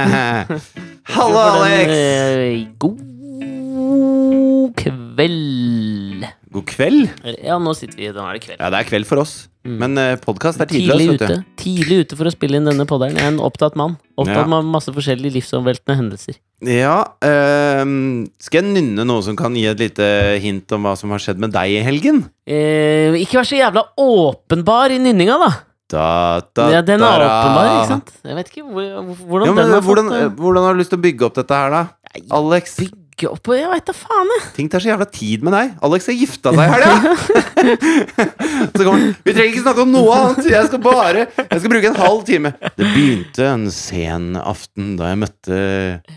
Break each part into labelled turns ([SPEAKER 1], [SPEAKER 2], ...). [SPEAKER 1] Hallo,
[SPEAKER 2] for den,
[SPEAKER 1] Alex!
[SPEAKER 2] eh, God kveld.
[SPEAKER 1] God kveld.
[SPEAKER 2] Ja, nå sitter vi Nå er det kveld.
[SPEAKER 1] Ja, det er kveld for oss. Men uh, podkast er
[SPEAKER 2] Mm. Tidlig
[SPEAKER 1] tidløs, vet
[SPEAKER 2] ute,
[SPEAKER 1] du.
[SPEAKER 2] tidlig ute for å spille inn denne podderen. Jeg er en opptatt mann. Opptatt
[SPEAKER 1] Ja.
[SPEAKER 2] med masse forskjellige livsomveltende hendelser.
[SPEAKER 1] Ja, ehm, skal jeg nynne noe som kan gi et lite hint om hva som har skjedd med deg i helgen?
[SPEAKER 2] Eh, ikke vær så jævla åpenbar i nynninga, da!
[SPEAKER 1] Da, da,
[SPEAKER 2] ja, den
[SPEAKER 1] da,
[SPEAKER 2] er
[SPEAKER 1] da.
[SPEAKER 2] åpenbar, ikke sant? Jeg vet ikke hvor, hvor- hvordan
[SPEAKER 1] Ja, men,
[SPEAKER 2] den har
[SPEAKER 1] hvordan,
[SPEAKER 2] fått eh,
[SPEAKER 1] hvordan har du lyst til å bygge opp dette her, da?
[SPEAKER 2] Nei.
[SPEAKER 1] Alex,
[SPEAKER 2] bygge opp Jeg veit da faen, jeg!
[SPEAKER 1] ting tar så jævla tid med deg. Alex har gifta seg i helga! Så kommer han Vi trenger ikke snakke om noe annet! Jeg skal bare Jeg skal bruke en halv time. Det begynte en sen aften da jeg møtte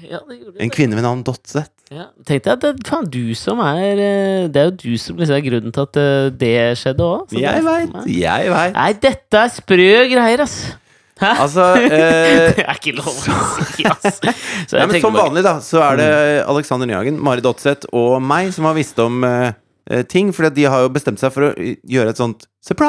[SPEAKER 2] Ja, det gjorde
[SPEAKER 1] en
[SPEAKER 2] det.
[SPEAKER 1] kvinne ved navn Dotzet.
[SPEAKER 2] Ja, tenkte jeg at det, faen, du som er eh, Det er jo du som liksom er grunnen til at eh, det skjedde òg.
[SPEAKER 1] Jeg veit, jeg veit.
[SPEAKER 2] Nei, dette er sprø greier, ass. Hæ?
[SPEAKER 1] Altså eh,
[SPEAKER 2] det er ikke lov å si, ass. Så
[SPEAKER 1] nei,
[SPEAKER 2] jeg
[SPEAKER 1] men
[SPEAKER 2] tenker
[SPEAKER 1] Som
[SPEAKER 2] bare, Mm.
[SPEAKER 1] vanlig, da, så er det Alexander Nyhagen, Marit Dotseth og meg som har visst om eh, eh, ting. For de har jo bestemt seg for å eh, gjøre et sånt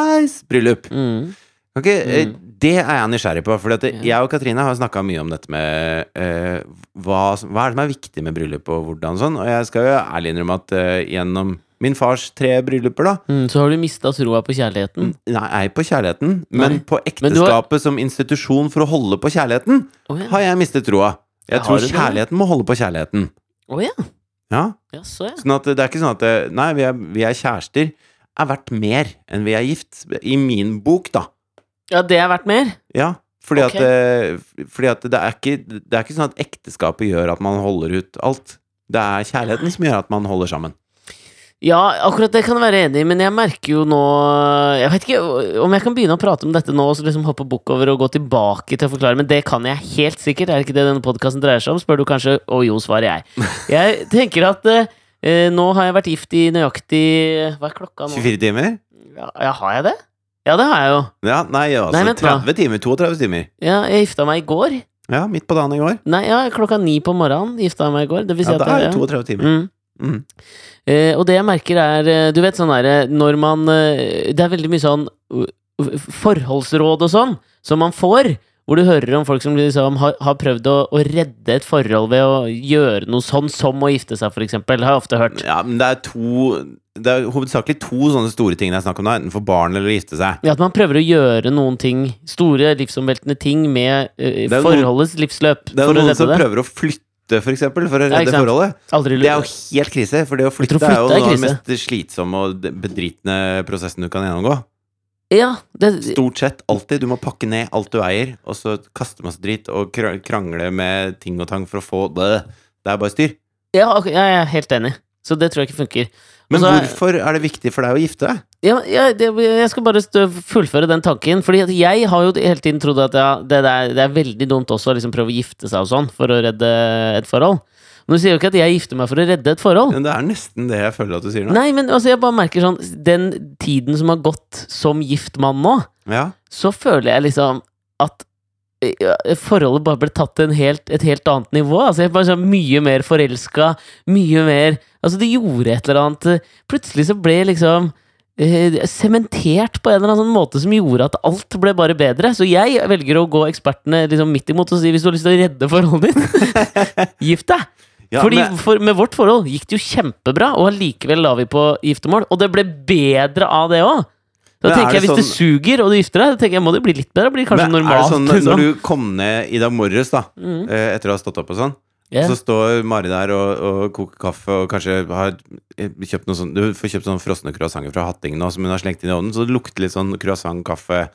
[SPEAKER 1] surprise-bryllup.
[SPEAKER 2] mm,
[SPEAKER 1] Ok, eh,
[SPEAKER 2] Mm.
[SPEAKER 1] Det er jeg nysgjerrig på. For at
[SPEAKER 2] Ja.
[SPEAKER 1] jeg og Katrine har snakka mye om dette med eh, hva, som- hva er det som er viktig med bryllup, og hvordan sånn. Og jeg skal jo ærlig innrømme at eh, gjennom min fars tre brylluper, da
[SPEAKER 2] mm, så har du mista troa på kjærligheten.
[SPEAKER 1] Nei, ei på kjærligheten, men
[SPEAKER 2] Mm. Nei.
[SPEAKER 1] på
[SPEAKER 2] Men du har-
[SPEAKER 1] ekteskapet som institusjon for å holde på kjærligheten.
[SPEAKER 2] Å ja.
[SPEAKER 1] har jeg mistet troa. Jeg
[SPEAKER 2] Ja, har
[SPEAKER 1] tror
[SPEAKER 2] du det?
[SPEAKER 1] kjærligheten må holde på kjærligheten.
[SPEAKER 2] Å ja.
[SPEAKER 1] Ja,
[SPEAKER 2] ja, så ja.
[SPEAKER 1] sånn at det er ikke sånn at det, Nei, vi er, vi er kjærester er verdt mer enn vi er gift. I min bok, da.
[SPEAKER 2] Ja, det er verdt mer?
[SPEAKER 1] Ja. Fordi,
[SPEAKER 2] Ok.
[SPEAKER 1] at, eh, fordi at det er, ikke, det er ikke sånn at ekteskapet gjør at man holder ut alt. Det er kjærligheten som gjør at man holder sammen.
[SPEAKER 2] Ja, akkurat det kan jeg være enig i, men jeg merker jo nå Jeg vet ikke om jeg kan begynne å prate om dette nå og så liksom hoppe bukk over og gå tilbake til å forklare, men det kan jeg helt sikkert. Er det ikke det denne podkasten dreier seg om? Spør du kanskje, og jo, svarer jeg. Jeg tenker at eh, eh, nå har jeg vært gift i nøyaktig Hva er klokka nå?
[SPEAKER 1] 24 timer?
[SPEAKER 2] Ja, ja, har jeg det? Ja, det har jeg jo.
[SPEAKER 1] Ja, nei, altså
[SPEAKER 2] Nei, vent da.
[SPEAKER 1] 30 timer. 32 timer.
[SPEAKER 2] Ja, jeg gifta meg i går.
[SPEAKER 1] Ja, midt på dagen i går.
[SPEAKER 2] Nei, ja, klokka ni på morgenen gifta jeg meg i går. Det vil si
[SPEAKER 1] Ja,
[SPEAKER 2] at
[SPEAKER 1] da er det
[SPEAKER 2] ja.
[SPEAKER 1] 32 timer.
[SPEAKER 2] Mm.
[SPEAKER 1] Mm.
[SPEAKER 2] Eh, og det jeg merker er eh, Du vet sånn derre når man eh, Det er veldig mye sånn uh, uh, forholdsråd og sånn som man får. Hvor du hører om folk som liksom har, har prøvd å, å redde et forhold ved å gjøre noe sånn som å gifte seg, f.eks. Har jeg ofte hørt.
[SPEAKER 1] Ja, men det er to Det er hovedsakelig to sånne store ting det er snakk om da. Enten for barn eller å gifte seg.
[SPEAKER 2] Ja, At man prøver å gjøre noen ting, store livsomveltende ting, med eh,
[SPEAKER 1] Det er jo noen-
[SPEAKER 2] forholdets livsløp
[SPEAKER 1] Det er
[SPEAKER 2] for å
[SPEAKER 1] noen som
[SPEAKER 2] redde det.
[SPEAKER 1] prøver å flytte, for eksempel, for å
[SPEAKER 2] Ja, ikke
[SPEAKER 1] redde
[SPEAKER 2] sant?
[SPEAKER 1] forholdet.
[SPEAKER 2] Aldri
[SPEAKER 1] Det er jo
[SPEAKER 2] lurt.
[SPEAKER 1] helt krise, for det å
[SPEAKER 2] Jeg tror
[SPEAKER 1] flytte er jo noe av
[SPEAKER 2] flytte er
[SPEAKER 1] den
[SPEAKER 2] krise.
[SPEAKER 1] mest slitsomme og de- bedritne prosessen du kan gjennomgå.
[SPEAKER 2] Ja, det,
[SPEAKER 1] Stort sett alltid. Du må pakke ned alt du eier, og så kaste masse dritt og kra- krangle med ting og tang for å få det. Det er bare styr.
[SPEAKER 2] ja, ok, ja, jeg er helt enig. Så det tror jeg ikke funker.
[SPEAKER 1] Men
[SPEAKER 2] Og så er-
[SPEAKER 1] hvorfor er det viktig for deg å gifte deg?
[SPEAKER 2] Ja, jeg, det, jeg skal bare stø- fullføre den tanken. Fordi at jeg har jo hele tiden trodd at ja, det, der, det er veldig dumt også å liksom prøve å gifte seg og sånn for å redde et forhold. Men du sier jo ikke at jeg gifter meg for å redde et forhold.
[SPEAKER 1] Men det er nesten det jeg føler at du sier nå.
[SPEAKER 2] Nei, men altså, jeg bare merker sånn Den tiden som har gått som gift mann nå,
[SPEAKER 1] Ja.
[SPEAKER 2] så føler jeg liksom at eh, ja, forholdet bare ble tatt til en helt, et helt annet nivå. Altså, jeg var sånn mye mer forelska, mye mer Altså, det gjorde et eller annet. Plutselig så ble jeg liksom eh, sementert på en eller annen sånn måte som gjorde at alt ble bare bedre. Så jeg velger å gå ekspertene liksom midt imot og si hvis du har lyst til å redde forholdet ditt, gift deg!
[SPEAKER 1] Ja,
[SPEAKER 2] Fordi
[SPEAKER 1] men-
[SPEAKER 2] for, Med vårt forhold gikk det jo kjempebra, og allikevel la vi på giftermål. Og det ble bedre av det òg! Da
[SPEAKER 1] Men er
[SPEAKER 2] tenker jeg
[SPEAKER 1] det sånn-
[SPEAKER 2] Hvis det suger, og du gifter deg, da tenker jeg må det bli litt bedre. Blir kanskje
[SPEAKER 1] Men er
[SPEAKER 2] normalt.
[SPEAKER 1] det sånn
[SPEAKER 2] liksom.
[SPEAKER 1] når du kom ned i dag morges, da,
[SPEAKER 2] Mm.
[SPEAKER 1] eh, etter å ha stått opp og sånn,
[SPEAKER 2] Ja.
[SPEAKER 1] Så står Mari der og, og koker kaffe og kanskje har kjøpt noe sånn Du får kjøpt sånne frosne croissanter fra Hattingen nå som hun har slengt inn i ovnen, så det lukter litt sånn croissantkaffe.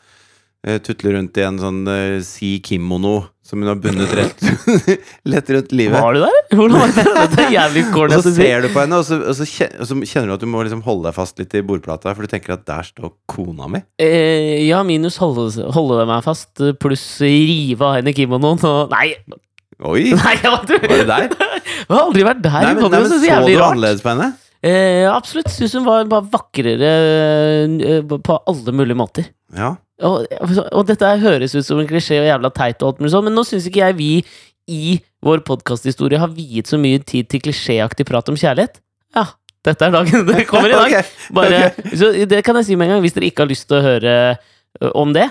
[SPEAKER 1] Eh, Tutler rundt i en sånn eh, si kimono som hun har bundet rett, lett rundt livet.
[SPEAKER 2] Var du der? Hvordan var det? Dette er jævlig
[SPEAKER 1] Og
[SPEAKER 2] corny. altså.
[SPEAKER 1] så
[SPEAKER 2] at du sier.
[SPEAKER 1] ser du på henne, og så, og så kje- og så kjenner du at du må liksom holde deg fast litt i bordplata, for du tenker at der står kona mi.
[SPEAKER 2] Eh, ja, minus holde, holde det meg fast, eh, pluss rive av henne kimonoen og Nei!
[SPEAKER 1] Oi!
[SPEAKER 2] nei jeg var,
[SPEAKER 1] Var det der?
[SPEAKER 2] Jeg har aldri vært der.
[SPEAKER 1] Nei, men,
[SPEAKER 2] men,
[SPEAKER 1] nei, men
[SPEAKER 2] så
[SPEAKER 1] Så
[SPEAKER 2] jævlig
[SPEAKER 1] du
[SPEAKER 2] rart.
[SPEAKER 1] annerledes på henne?
[SPEAKER 2] Eh, absolutt. Syns hun var bare vakrere eh, på alle mulige måter.
[SPEAKER 1] Ja.
[SPEAKER 2] og, og dette her høres ut som en klisjé og jævla teit, og alt mulig sånn, men nå syns ikke jeg vi i vår podkasthistorie har viet så mye tid til klisjéaktig prat om kjærlighet. Ja, dette er dagen det kommer i dag.
[SPEAKER 1] Ok.
[SPEAKER 2] Bare, så det kan jeg si med en gang, hvis dere ikke har lyst til å høre ø, om det.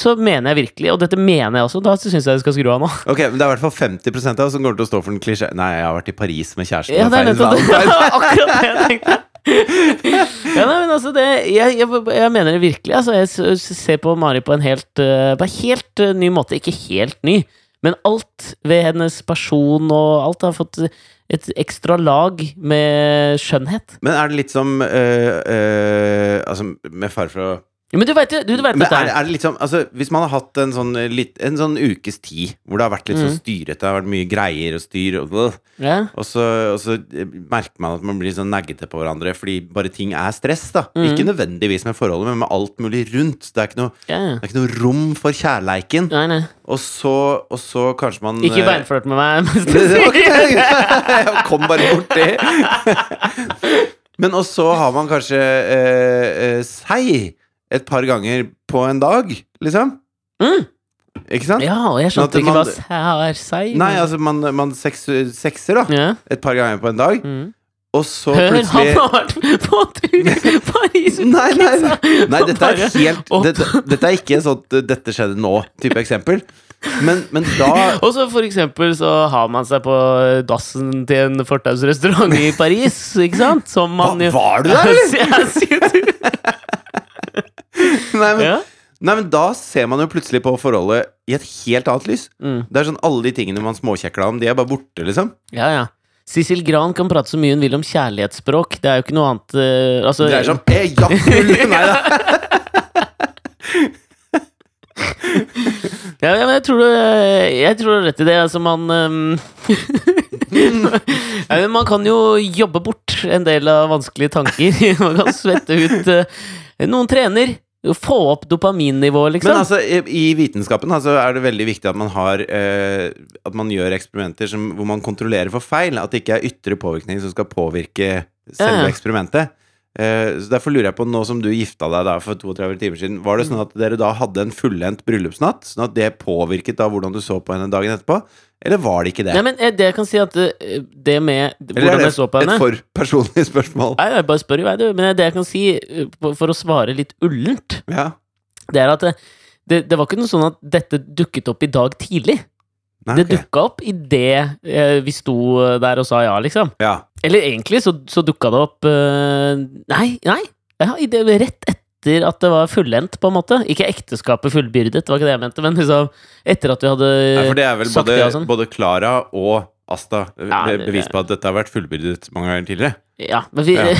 [SPEAKER 2] så mener jeg virkelig, og dette mener jeg også, da syns jeg du skal skru av nå.
[SPEAKER 1] Ok, men Det er i hvert fall 50 av oss som kommer til å stå for den klisjé... Nei, jeg har vært i Paris med kjæresten.
[SPEAKER 2] Ja,
[SPEAKER 1] og
[SPEAKER 2] det
[SPEAKER 1] feiret
[SPEAKER 2] er nettopp det.
[SPEAKER 1] valentine.
[SPEAKER 2] Akkurat det jeg tenkte. ja, nei, men altså det, jeg, jeg, jeg mener det virkelig. Altså, jeg s- s- ser på Mari på en helt, eh, på en helt eh, ny måte. Ikke helt ny, men alt ved hennes person og alt har fått et ekstra lag med skjønnhet.
[SPEAKER 1] Men er det litt som øh, øh, Altså, med fare for å
[SPEAKER 2] Ja, men du veit jo du, du vet
[SPEAKER 1] Men
[SPEAKER 2] dette.
[SPEAKER 1] er,
[SPEAKER 2] her.
[SPEAKER 1] er det litt som altså, Hvis man har hatt en sånn, eh, litt, en sånn ukes tid hvor det har vært litt
[SPEAKER 2] Mm.
[SPEAKER 1] sånn styrete, det har vært mye greier og styr, og, øh,
[SPEAKER 2] Ja.
[SPEAKER 1] og, så, og så eh, merker man at man blir sånn naggete på hverandre fordi bare ting er stress, da.
[SPEAKER 2] Mm.
[SPEAKER 1] Ikke nødvendigvis med forholdet, men med alt mulig rundt. Det er ikke noe,
[SPEAKER 2] Ja, ja.
[SPEAKER 1] det er ikke noe rom for kjærleiken.
[SPEAKER 2] Nei, nei.
[SPEAKER 1] Og så, og så kanskje man
[SPEAKER 2] Ikke
[SPEAKER 1] eh,
[SPEAKER 2] beinflørt med meg. mens du sier-
[SPEAKER 1] Ok, Jeg kom bare borti. Men og så har man kanskje eh, eh, seg et par ganger på en dag, liksom.
[SPEAKER 2] Mm.
[SPEAKER 1] Ikke sant?
[SPEAKER 2] Ja, og jeg
[SPEAKER 1] Sånn at
[SPEAKER 2] skjønte ikke
[SPEAKER 1] man-
[SPEAKER 2] hva sær seg
[SPEAKER 1] Nei, altså man, man seks, sekser da
[SPEAKER 2] ja.
[SPEAKER 1] et par ganger på en dag,
[SPEAKER 2] mm.
[SPEAKER 1] og så
[SPEAKER 2] Hør, han
[SPEAKER 1] plutselig
[SPEAKER 2] har vært på tur Paris
[SPEAKER 1] Nei, nei, nei. Nei, dette er
[SPEAKER 2] Liksom. Bare
[SPEAKER 1] helt
[SPEAKER 2] opp.
[SPEAKER 1] dette, dette er ikke et sånt eh, 'dette skjedde nå'-type eksempel. Men, men da
[SPEAKER 2] Og så for eksempel så har man seg på dassen til en fortausrestaurant i Paris, ikke sant? Som man
[SPEAKER 1] Hva-
[SPEAKER 2] jo
[SPEAKER 1] var du der, eller?
[SPEAKER 2] Jeg sier du.
[SPEAKER 1] Nei, men,
[SPEAKER 2] Ja.
[SPEAKER 1] Nei, men da ser man jo plutselig på forholdet i et helt annet lys.
[SPEAKER 2] Mm.
[SPEAKER 1] Det er sånn alle de tingene man småkjekla om, de er bare borte, liksom.
[SPEAKER 2] ja, ja. Sissel Gran kan prate så mye hun vil om kjærlighetsspråk. Det er jo ikke noe annet eh, altså,
[SPEAKER 1] Det er sånn, som ejakul! Nei da.
[SPEAKER 2] ja, ja, men jeg tror du Jeg tror du har rett i det. Altså, man ehm, Nei, men Man kan jo jobbe bort en del av vanskelige tanker. Man kan svette ut eh, Noen trener. Få opp dopaminnivået, liksom.
[SPEAKER 1] Men altså, i i vitenskapen altså, er det veldig viktig at man har eh, At man gjør eksperimenter som, hvor man kontrollerer for feil. At det ikke er ytre påvirkning som skal påvirke
[SPEAKER 2] Ja,
[SPEAKER 1] selve
[SPEAKER 2] ja.
[SPEAKER 1] eksperimentet. Eh, så Derfor lurer jeg på, nå som du gifta deg da for 32 timer siden, var det sånn at dere da hadde en fullendt bryllupsnatt? Sånn at det påvirket da hvordan du så på henne dagen etterpå? Eller var det ikke det?
[SPEAKER 2] Nei, men eh, det jeg kan si at eh, det med
[SPEAKER 1] Eller
[SPEAKER 2] hvordan
[SPEAKER 1] er
[SPEAKER 2] jeg så
[SPEAKER 1] det
[SPEAKER 2] på henne
[SPEAKER 1] et for personlig spørsmål?
[SPEAKER 2] Nei, jeg bare spør jo, jeg, du. Men det jeg kan si, eh, på- for å svare litt ullent,
[SPEAKER 1] Ja.
[SPEAKER 2] det er at eh, det, det var ikke noe sånn at dette dukket opp i dag tidlig.
[SPEAKER 1] Nei,
[SPEAKER 2] Det
[SPEAKER 1] ok.
[SPEAKER 2] dukka opp idet eh, vi sto eh, der og sa ja, liksom.
[SPEAKER 1] ja.
[SPEAKER 2] Eller egentlig så, så dukka det opp eh, Nei, nei. Ja, i det, rett etter at det var fullendt, på en måte. Ikke ekteskapet fullbyrdet, det var ikke det jeg mente, men liksom etter at vi hadde
[SPEAKER 1] Nei, for det er vel
[SPEAKER 2] sagt
[SPEAKER 1] både,
[SPEAKER 2] ja og sånn.
[SPEAKER 1] både Clara og Asta eh,
[SPEAKER 2] Ja, det-
[SPEAKER 1] bevis på at dette har vært fullbyrdet mange ganger tidligere.
[SPEAKER 2] Ja, men vi
[SPEAKER 1] Ja.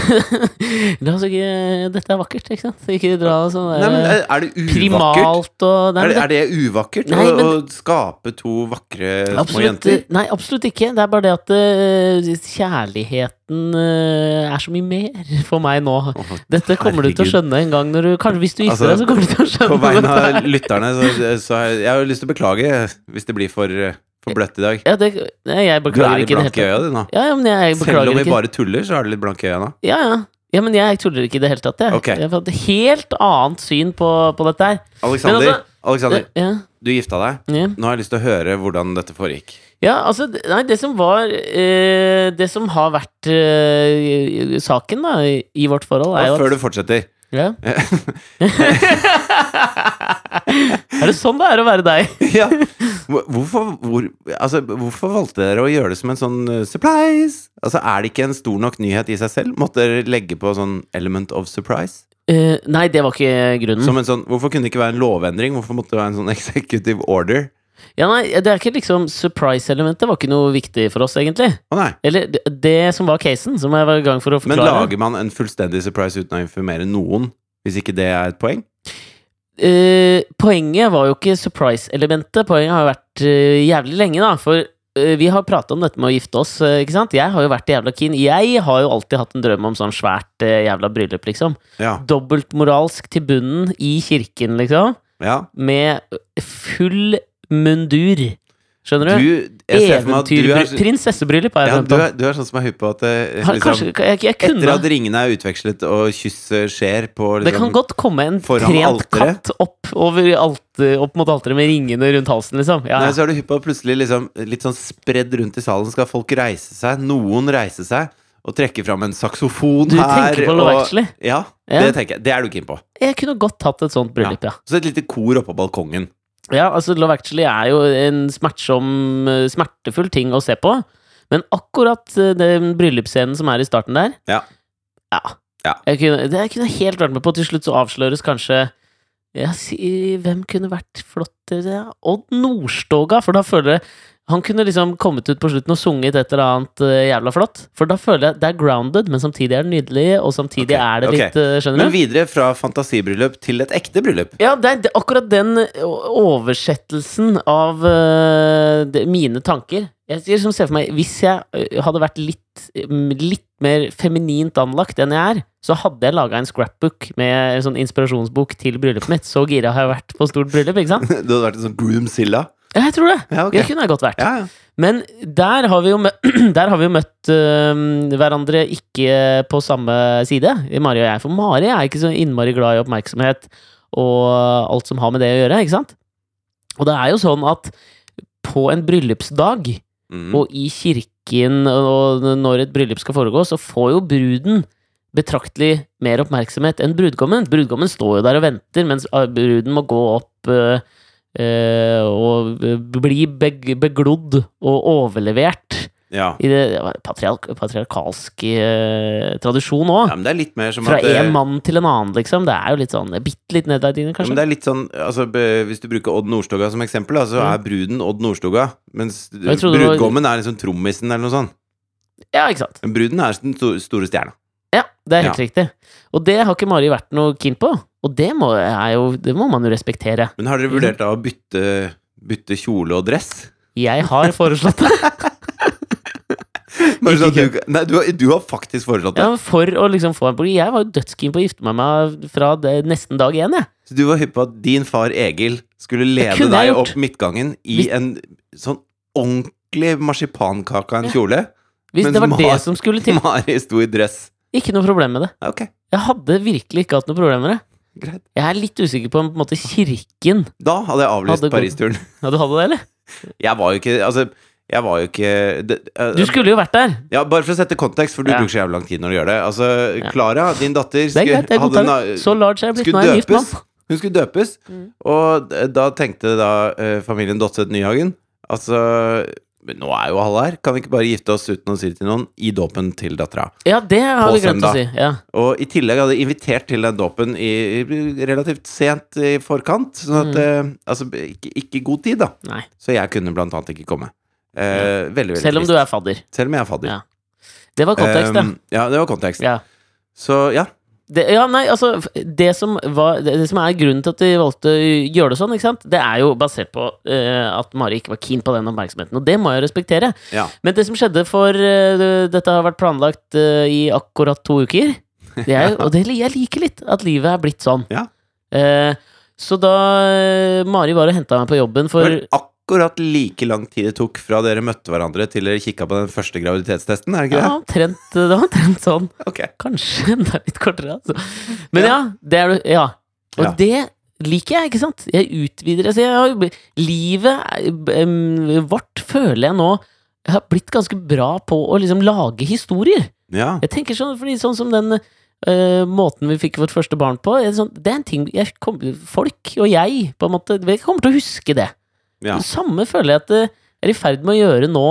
[SPEAKER 2] La oss ikke Dette er vakkert, ikke sant? Ikke dra sånn
[SPEAKER 1] Nei, men
[SPEAKER 2] der
[SPEAKER 1] er er det uvakkert?
[SPEAKER 2] primalt og nei,
[SPEAKER 1] Er det,
[SPEAKER 2] men
[SPEAKER 1] er det uvakkert
[SPEAKER 2] Nei,
[SPEAKER 1] å,
[SPEAKER 2] men-
[SPEAKER 1] å skape to vakre
[SPEAKER 2] det-
[SPEAKER 1] små
[SPEAKER 2] absolutt,
[SPEAKER 1] jenter?
[SPEAKER 2] nei, absolutt ikke. Det er bare det at eh, kjærligheten eh, er så mye mer for meg nå.
[SPEAKER 1] Åh,
[SPEAKER 2] Dette kommer du til å
[SPEAKER 1] herregud.
[SPEAKER 2] skjønnne en gang når du Kanskje hvis du gifter
[SPEAKER 1] Altså,
[SPEAKER 2] deg, så kommer du til å skjønne
[SPEAKER 1] På vegne
[SPEAKER 2] dette her.
[SPEAKER 1] av lytterne, så, så har jeg, jeg har lyst til å beklage hvis det blir for, eh, for bløtt i dag.
[SPEAKER 2] ja, det, nei, jeg
[SPEAKER 1] Du er
[SPEAKER 2] beklager
[SPEAKER 1] litt
[SPEAKER 2] ikke i det
[SPEAKER 1] blank i
[SPEAKER 2] hele tatt.
[SPEAKER 1] øya, du nå.
[SPEAKER 2] Ja, ja, men jeg
[SPEAKER 1] Selv om
[SPEAKER 2] beklager
[SPEAKER 1] vi
[SPEAKER 2] ikke.
[SPEAKER 1] bare tuller, så er du litt blank i øya nå.
[SPEAKER 2] Ja, ja. ja, men jeg tuller ikke i det hele tatt. Jeg,
[SPEAKER 1] Ok.
[SPEAKER 2] jeg har fått et helt annet syn på, på dette her.
[SPEAKER 1] Alexander,
[SPEAKER 2] Men altså-
[SPEAKER 1] Alexander,
[SPEAKER 2] Ja,
[SPEAKER 1] du gifta deg.
[SPEAKER 2] ja.
[SPEAKER 1] Nå har jeg lyst til å høre hvordan dette foregikk.
[SPEAKER 2] Ja, altså, d- nei, det som var eh, Det som har vært eh, saken da, i, i vårt forhold, er
[SPEAKER 1] Og
[SPEAKER 2] jo
[SPEAKER 1] før
[SPEAKER 2] at
[SPEAKER 1] du fortsetter
[SPEAKER 2] ja. Er det sånn det er å være deg?
[SPEAKER 1] ja. Hvor- Hvorfor, hvor, altså, hvorfor valgte dere å gjøre det som en sånn eh, surprise? Altså, Er det ikke en stor nok nyhet i seg selv? Måtte dere legge på sånn element of surprise?
[SPEAKER 2] Eh, nei, det var ikke grunnen.
[SPEAKER 1] Som en sånn, Hvorfor kunne det ikke være en lovendring? Hvorfor måtte det være en sånn executive order?
[SPEAKER 2] Ja, nei, Det er ikke liksom surprise-elementet var ikke noe viktig for oss, egentlig.
[SPEAKER 1] Å nei
[SPEAKER 2] Eller det, det som var casen, som jeg var i gang for å
[SPEAKER 1] Men
[SPEAKER 2] forklare.
[SPEAKER 1] lager man en fullstendig surprise uten å informere noen? Hvis ikke det er et poeng?
[SPEAKER 2] Eh, poenget var jo ikke surprise-elementet. Poenget har jo vært eh, jævlig lenge, da. For eh, vi har prata om dette med å gifte oss. eh, ikke sant? Jeg har jo vært jævla keen. Jeg har jo alltid hatt en drøm om sånn svært eh, jævla bryllup, liksom.
[SPEAKER 1] Ja.
[SPEAKER 2] Dobbeltmoralsk til bunnen i kirken, liksom.
[SPEAKER 1] ja.
[SPEAKER 2] Med full mundur.
[SPEAKER 1] Du,
[SPEAKER 2] Skjønner du?
[SPEAKER 1] jeg ser for meg at du
[SPEAKER 2] Eventyrbryllup.
[SPEAKER 1] er,
[SPEAKER 2] Prinsessebryllup har jeg
[SPEAKER 1] ja,
[SPEAKER 2] drømt
[SPEAKER 1] du,
[SPEAKER 2] om.
[SPEAKER 1] er, du er sånn som er hypp på at eh,
[SPEAKER 2] Har-
[SPEAKER 1] liksom,
[SPEAKER 2] Kanskje jeg, jeg
[SPEAKER 1] Etter
[SPEAKER 2] kunne
[SPEAKER 1] at ringene er utvekslet og kysset skjer på
[SPEAKER 2] Det kan
[SPEAKER 1] liksom,
[SPEAKER 2] godt komme en
[SPEAKER 1] foran
[SPEAKER 2] trent
[SPEAKER 1] alteret.
[SPEAKER 2] katt opp, over alter, opp mot alteret med ringene rundt halsen, liksom. Ja,
[SPEAKER 1] Nei, altså,
[SPEAKER 2] ja.
[SPEAKER 1] så er du hypp på at plutselig liksom, litt sånn spredd rundt i salen skal folk reise seg. Noen reise seg. og trekke fram en saksofon
[SPEAKER 2] Du
[SPEAKER 1] her.
[SPEAKER 2] tenker på Love
[SPEAKER 1] og-
[SPEAKER 2] Actually?
[SPEAKER 1] Ja,
[SPEAKER 2] Ja.
[SPEAKER 1] det tenker jeg. Det er du keen på.
[SPEAKER 2] Jeg kunne godt hatt et sånt bryllup, ja.
[SPEAKER 1] Så et lite kor oppå balkongen.
[SPEAKER 2] Ja, altså Love Actually er jo en smertsom, eh, smertefull ting å se på. Men akkurat eh, den bryllupsscenen som er i starten der
[SPEAKER 1] Ja.
[SPEAKER 2] Ja.
[SPEAKER 1] Ja.
[SPEAKER 2] Jeg, kunne, det jeg kunne helt vært med på. Til slutt så avsløres kanskje ja, si, Hvem kunne vært flottere? Odd Nordstoga! For da føler jeg Han kunne liksom kommet ut på slutten og sunget et eller annet eh, jævla flott. For da føler jeg det er grounded, men samtidig er det nydelig, og samtidig
[SPEAKER 1] Ok,
[SPEAKER 2] er det
[SPEAKER 1] ok.
[SPEAKER 2] litt eh, Skjønner du?
[SPEAKER 1] Men videre fra fantasibryllup til et ekte bryllup.
[SPEAKER 2] Ja, det er det, akkurat den eh, o- oversettelsen av øh, det, mine tanker. Jeg sier som ser for meg, Hvis jeg øh, hadde vært litt, mm, litt mer feminint anlagt enn jeg er, så hadde jeg laga en scrapbook med en sånn inspirasjonsbok til bryllupet mitt. Så gira har jeg vært på stort bryllup, ikke sant?
[SPEAKER 1] Du hadde vært en sånn groomzilla.
[SPEAKER 2] Ja, Jeg tror det.
[SPEAKER 1] Ja, ok.
[SPEAKER 2] Det kunne jeg godt vært.
[SPEAKER 1] Ja, ja.
[SPEAKER 2] Men der har vi jo møtt, der har vi jo møtt øhm, hverandre ikke på samme side, Mari og jeg. For Mari er ikke så innmari glad i oppmerksomhet og alt som har med det å gjøre. ikke sant? Og det er jo sånn at på en bryllupsdag
[SPEAKER 1] Mm.
[SPEAKER 2] og i kirken og når et bryllup skal foregå, så får jo bruden betraktelig mer oppmerksomhet enn brudgommen. Brudgommen står jo der og venter, mens ah, bruden må gå opp eh, eh, og bli beg beglodd og overlevert.
[SPEAKER 1] ja.
[SPEAKER 2] I det det var patriark patriarkalsk eh, tradisjon
[SPEAKER 1] ja,
[SPEAKER 2] òg.
[SPEAKER 1] men det er litt mer som
[SPEAKER 2] Fra
[SPEAKER 1] at eh,
[SPEAKER 2] én mann til en annen, liksom. Det er jo litt sånn eh, bitte litt
[SPEAKER 1] Ja,
[SPEAKER 2] nedverdigende,
[SPEAKER 1] men
[SPEAKER 2] kanskje.
[SPEAKER 1] det er litt sånn, altså, be- Hvis du bruker Odd Nordstoga som eksempel, da, så
[SPEAKER 2] Ja.
[SPEAKER 1] er bruden Odd Nordstoga. Mens
[SPEAKER 2] Mm. jeg trodde det var-
[SPEAKER 1] brudgommen er liksom trommisen eller noe sånt.
[SPEAKER 2] Ja, ikke sant.
[SPEAKER 1] Men bruden er den sto- store stjerna.
[SPEAKER 2] Ja, det er helt riktig. Og det har ikke Mari vært noe keen på. Og det må, er jo, det må man jo respektere.
[SPEAKER 1] Men har dere vurdert da å bytte, bytte kjole og dress?
[SPEAKER 2] Jeg har foreslått det.
[SPEAKER 1] Bare sånn at du, nei, du, har, du har faktisk foreslått det.
[SPEAKER 2] Ja, for å liksom få en bolig. Jeg var jo dødskeen på å gifte meg med fra det, nesten dag én, jeg.
[SPEAKER 1] Så du var hypp på at din far Egil skulle lede
[SPEAKER 2] kunne jeg
[SPEAKER 1] deg
[SPEAKER 2] gjort.
[SPEAKER 1] opp midtgangen i
[SPEAKER 2] Hvis-
[SPEAKER 1] en sånn ordentlig marsipankake av en kjole?
[SPEAKER 2] Hvis
[SPEAKER 1] Men
[SPEAKER 2] det var
[SPEAKER 1] Mar-
[SPEAKER 2] det som skulle til.
[SPEAKER 1] Mari sto i dress.
[SPEAKER 2] Ikke noe problem med det.
[SPEAKER 1] Ja, Ok,
[SPEAKER 2] Jeg hadde virkelig ikke hatt noe problem med det.
[SPEAKER 1] greit.
[SPEAKER 2] Jeg er litt usikker på om på en måte kirken
[SPEAKER 1] Da hadde jeg avlyst
[SPEAKER 2] Hadde gått.
[SPEAKER 1] Paris-turen.
[SPEAKER 2] Ja, du hadde det, eller?
[SPEAKER 1] Jeg var jo ikke Altså, jeg var jo ikke det, eh,
[SPEAKER 2] Du skulle jo vært der!
[SPEAKER 1] Ja, Bare for å sette kontekst, for du
[SPEAKER 2] Ja.
[SPEAKER 1] bruker så jævlig lang tid når du gjør det. Altså, Klara, din datter,
[SPEAKER 2] Det er greit, jeg
[SPEAKER 1] hadde
[SPEAKER 2] godtar det.
[SPEAKER 1] na-
[SPEAKER 2] Så Mm. large er jeg blitt, nå
[SPEAKER 1] skulle
[SPEAKER 2] er jeg gift mann.
[SPEAKER 1] døpes. Hun skulle døpes, og d- da tenkte da eh, familien Dotset Nyhagen Altså, men nå er jo alle her, kan vi ikke bare gifte oss uten å si det til noen i dåpen til dattera?
[SPEAKER 2] Ja, det har
[SPEAKER 1] På
[SPEAKER 2] vi glemt å
[SPEAKER 1] søndag.
[SPEAKER 2] si. Ja.
[SPEAKER 1] Og i tillegg hadde jeg invitert til den dåpen i, i relativt sent i forkant, sånn at
[SPEAKER 2] Mm.
[SPEAKER 1] eh, Altså, ikke, ikke god tid, da.
[SPEAKER 2] Nei.
[SPEAKER 1] Så jeg kunne blant annet ikke komme. Eh, veldig, veldig
[SPEAKER 2] Selv om du
[SPEAKER 1] trist.
[SPEAKER 2] er fadder.
[SPEAKER 1] Selv om jeg er fadder.
[SPEAKER 2] Ja. Det var kontekst,
[SPEAKER 1] Um, ja, det var kontekst.
[SPEAKER 2] ja. ja.
[SPEAKER 1] Så ja,
[SPEAKER 2] Det, ja, nei, altså f- det som, var, det, det som er grunnen til at de valgte å gjøre det sånn, ikke sant? det er jo basert på eh, at Mari ikke var keen på den oppmerksomheten, og det må jeg respektere.
[SPEAKER 1] Ja.
[SPEAKER 2] Men det som skjedde for eh, Dette har vært planlagt eh, i akkurat to uker. Det er, jo- Og det, jeg liker litt at livet er blitt sånn.
[SPEAKER 1] Ja.
[SPEAKER 2] Eh, så da eh, Mari var og henta meg på jobben
[SPEAKER 1] det
[SPEAKER 2] for
[SPEAKER 1] var akkurat like lang tid det tok fra dere møtte hverandre til dere kikka på den første graviditetstesten, er det
[SPEAKER 2] ja,
[SPEAKER 1] ikke det?
[SPEAKER 2] omtrent, Det var omtrent sånn.
[SPEAKER 1] Ok.
[SPEAKER 2] Kanskje enda litt kortere, altså. Men
[SPEAKER 1] Ja.
[SPEAKER 2] ja, det er du Ja. Og
[SPEAKER 1] Ja.
[SPEAKER 2] det liker jeg, ikke sant? Jeg utvider altså jeg har, jo bl- Livet er- em, vårt føler jeg nå jeg har blitt ganske bra på å liksom lage historier.
[SPEAKER 1] Ja.
[SPEAKER 2] Jeg tenker sånn, fordi sånn som den eh, måten vi fikk vårt første barn på er sånn, Det er en ting jeg kom, Folk og jeg på en måte, vi kommer til å huske det.
[SPEAKER 1] ja.
[SPEAKER 2] Det samme føler jeg at det er i ferd med å gjøre nå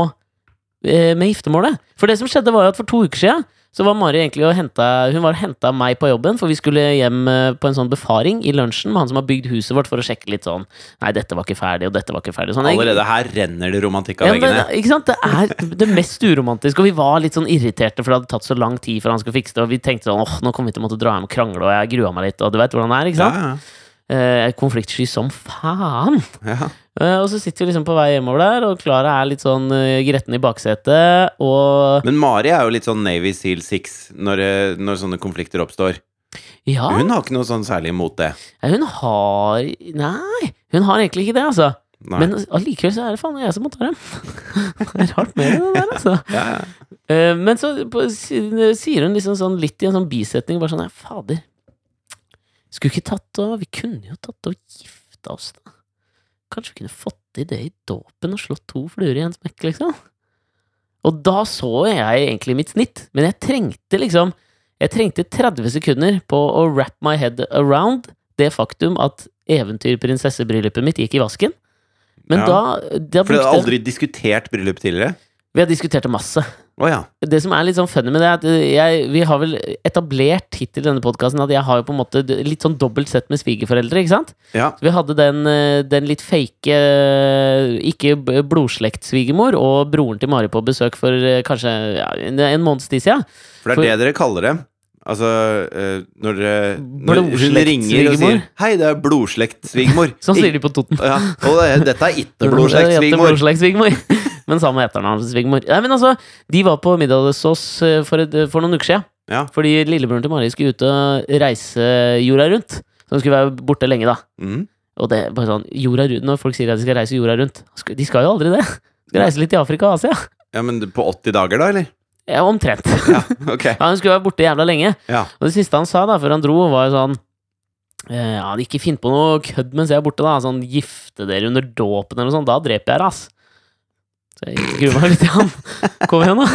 [SPEAKER 2] eh, med giftermålet. For det som skjedde, var jo at for to uker siden så var Mari egentlig og henta Hun var og henta meg på jobben, for vi skulle hjem eh, på en sånn befaring i lunsjen med han som har bygd huset vårt, for å sjekke litt sånn Nei, dette var ikke ferdig, og dette var ikke ferdig. Sånn, jeg-
[SPEAKER 1] Allerede her renner det romantikk
[SPEAKER 2] ja,
[SPEAKER 1] av
[SPEAKER 2] men,
[SPEAKER 1] veggene.
[SPEAKER 2] ikke sant? Det er det mest uromantiske, og vi var litt sånn irriterte, for det hadde tatt så lang tid før han skulle fikse det, og vi tenkte sånn åh, nå kommer vi til å måtte dra hjem og krangle, og jeg grua meg litt, og du veit hvordan det er, ikke
[SPEAKER 1] Ja,
[SPEAKER 2] sant? Eh, konfliktsky som faen.
[SPEAKER 1] ja. ja.
[SPEAKER 2] Eh, Og så sitter vi liksom på vei hjemover der, og Klara er litt sånn eh, gretten i baksetet, og
[SPEAKER 1] Men Mari er jo litt sånn Navy Seal Six når, eh, når sånne konflikter oppstår.
[SPEAKER 2] Ja,
[SPEAKER 1] Hun har ikke noe sånn særlig imot det.
[SPEAKER 2] eh, hun har Nei, hun har egentlig ikke det, altså.
[SPEAKER 1] Nei.
[SPEAKER 2] Men allikevel så er det faen meg jeg som må ta dem. det er rart med det der, altså.
[SPEAKER 1] ja, ja.
[SPEAKER 2] Eh, Men så på, si- sier hun liksom sånn litt i en sånn bisetning, bare sånn "Nei, Fader, skulle ikke tatt og Vi kunne jo tatt og gifta oss, da. Kanskje vi kunne fått til det i dåpen og slått to fluer i en smekk, liksom? Og da så jeg egentlig mitt snitt, men jeg trengte liksom Jeg trengte 30 sekunder på å wrap my head around det faktum at eventyrprinsessebryllupet mitt gikk i vasken. Men
[SPEAKER 1] Ja.
[SPEAKER 2] da, da
[SPEAKER 1] For dere
[SPEAKER 2] brukte
[SPEAKER 1] har
[SPEAKER 2] jeg
[SPEAKER 1] aldri diskutert bryllup tidligere?
[SPEAKER 2] Vi har diskutert det masse.
[SPEAKER 1] Å ja.
[SPEAKER 2] Det som er litt sånn funny med det, er at eh, jeg, vi har vel etablert hittil i denne podkasten at jeg har jo på en måte d- litt sånn dobbelt sett med svigerforeldre, ikke sant?
[SPEAKER 1] ja.
[SPEAKER 2] Så vi hadde den, eh, den litt fake eh, ikke b- blodslektssvigermor og broren til Mari på besøk for eh, kanskje ja, en en måneds tid siden.
[SPEAKER 1] For det
[SPEAKER 2] For-
[SPEAKER 1] er det dere kaller det. Altså eh, når, dere- når hun
[SPEAKER 2] Blodslekt,
[SPEAKER 1] ringer og sier
[SPEAKER 2] svigermor.
[SPEAKER 1] 'Hei, det er blodslekt, svigermor'.
[SPEAKER 2] Sånn sier de på Toten.
[SPEAKER 1] Ja, og det, er- dette er ikke blodslekt, svigermor.
[SPEAKER 2] svigermor. Men samme etternavn som svigermor. Nei, men altså, de var på middag hos oss eh, for, et, for noen uker siden.
[SPEAKER 1] Ja.
[SPEAKER 2] Fordi lillebroren til Mari skulle ut og reise jorda rundt. Så hun skulle være borte lenge, da.
[SPEAKER 1] Mm.
[SPEAKER 2] Og det er bare sånn, jorda rundt, Når folk sier at de skal reise jorda rundt sk- De skal jo aldri det! De skal reise litt i Afrika og Asia.
[SPEAKER 1] Ja, men på 80 dager, da, eller?
[SPEAKER 2] Ja, omtrent.
[SPEAKER 1] Ja, ok.
[SPEAKER 2] Ja, Hun skulle være borte jævla lenge.
[SPEAKER 1] Ja.
[SPEAKER 2] Og det siste han sa da, før han dro, var jo sånn eh, Ja, ikke finn på noe kødd mens jeg er borte, da. Sånn gifte dere under dåpen eller noe sånt. Da dreper jeg dere, ass. Så jeg gruer meg litt til han. Kom igjen, da.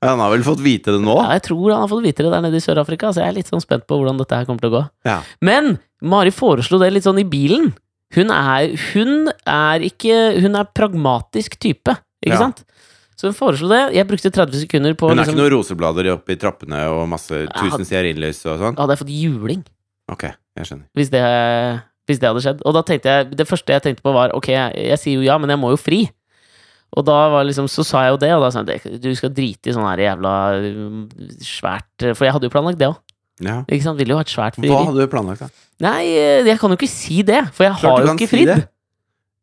[SPEAKER 1] Ja, Han har vel fått vite det nå?
[SPEAKER 2] Ja, jeg tror han har fått vite det der nede i Sør-Afrika, så jeg er litt sånn spent på hvordan dette her kommer til å gå.
[SPEAKER 1] Ja.
[SPEAKER 2] Men Mari foreslo det litt sånn i bilen. Hun er, hun er ikke Hun er pragmatisk type, ikke
[SPEAKER 1] Ja.
[SPEAKER 2] sant? Så hun foreslo det. Jeg brukte 30 sekunder på
[SPEAKER 1] Hun er
[SPEAKER 2] liksom,
[SPEAKER 1] ikke noen roseblader oppe i trappene og masse tusen stearinlys og sånn?
[SPEAKER 2] Hadde jeg fått juling?
[SPEAKER 1] Ok, jeg skjønner.
[SPEAKER 2] hvis det, hvis det hadde skjedd. Og da tenkte jeg, det første jeg tenkte på var, ok, jeg, jeg sier jo ja, men jeg må jo fri. Og da var liksom, så sa jeg jo det, og da sa jeg, du skal drite i sånn her jævla um, svært, for jeg hadde jo planlagt det også,
[SPEAKER 1] Ja.
[SPEAKER 2] ikke sant? Ville jo ha et svært
[SPEAKER 1] Hva
[SPEAKER 2] frieri.
[SPEAKER 1] hadde du planlagt, da?
[SPEAKER 2] Nei, eh, jeg kan jo ikke si det, for jeg
[SPEAKER 1] Klart
[SPEAKER 2] har
[SPEAKER 1] du
[SPEAKER 2] jo
[SPEAKER 1] kan
[SPEAKER 2] ikke
[SPEAKER 1] si
[SPEAKER 2] fridd.
[SPEAKER 1] det.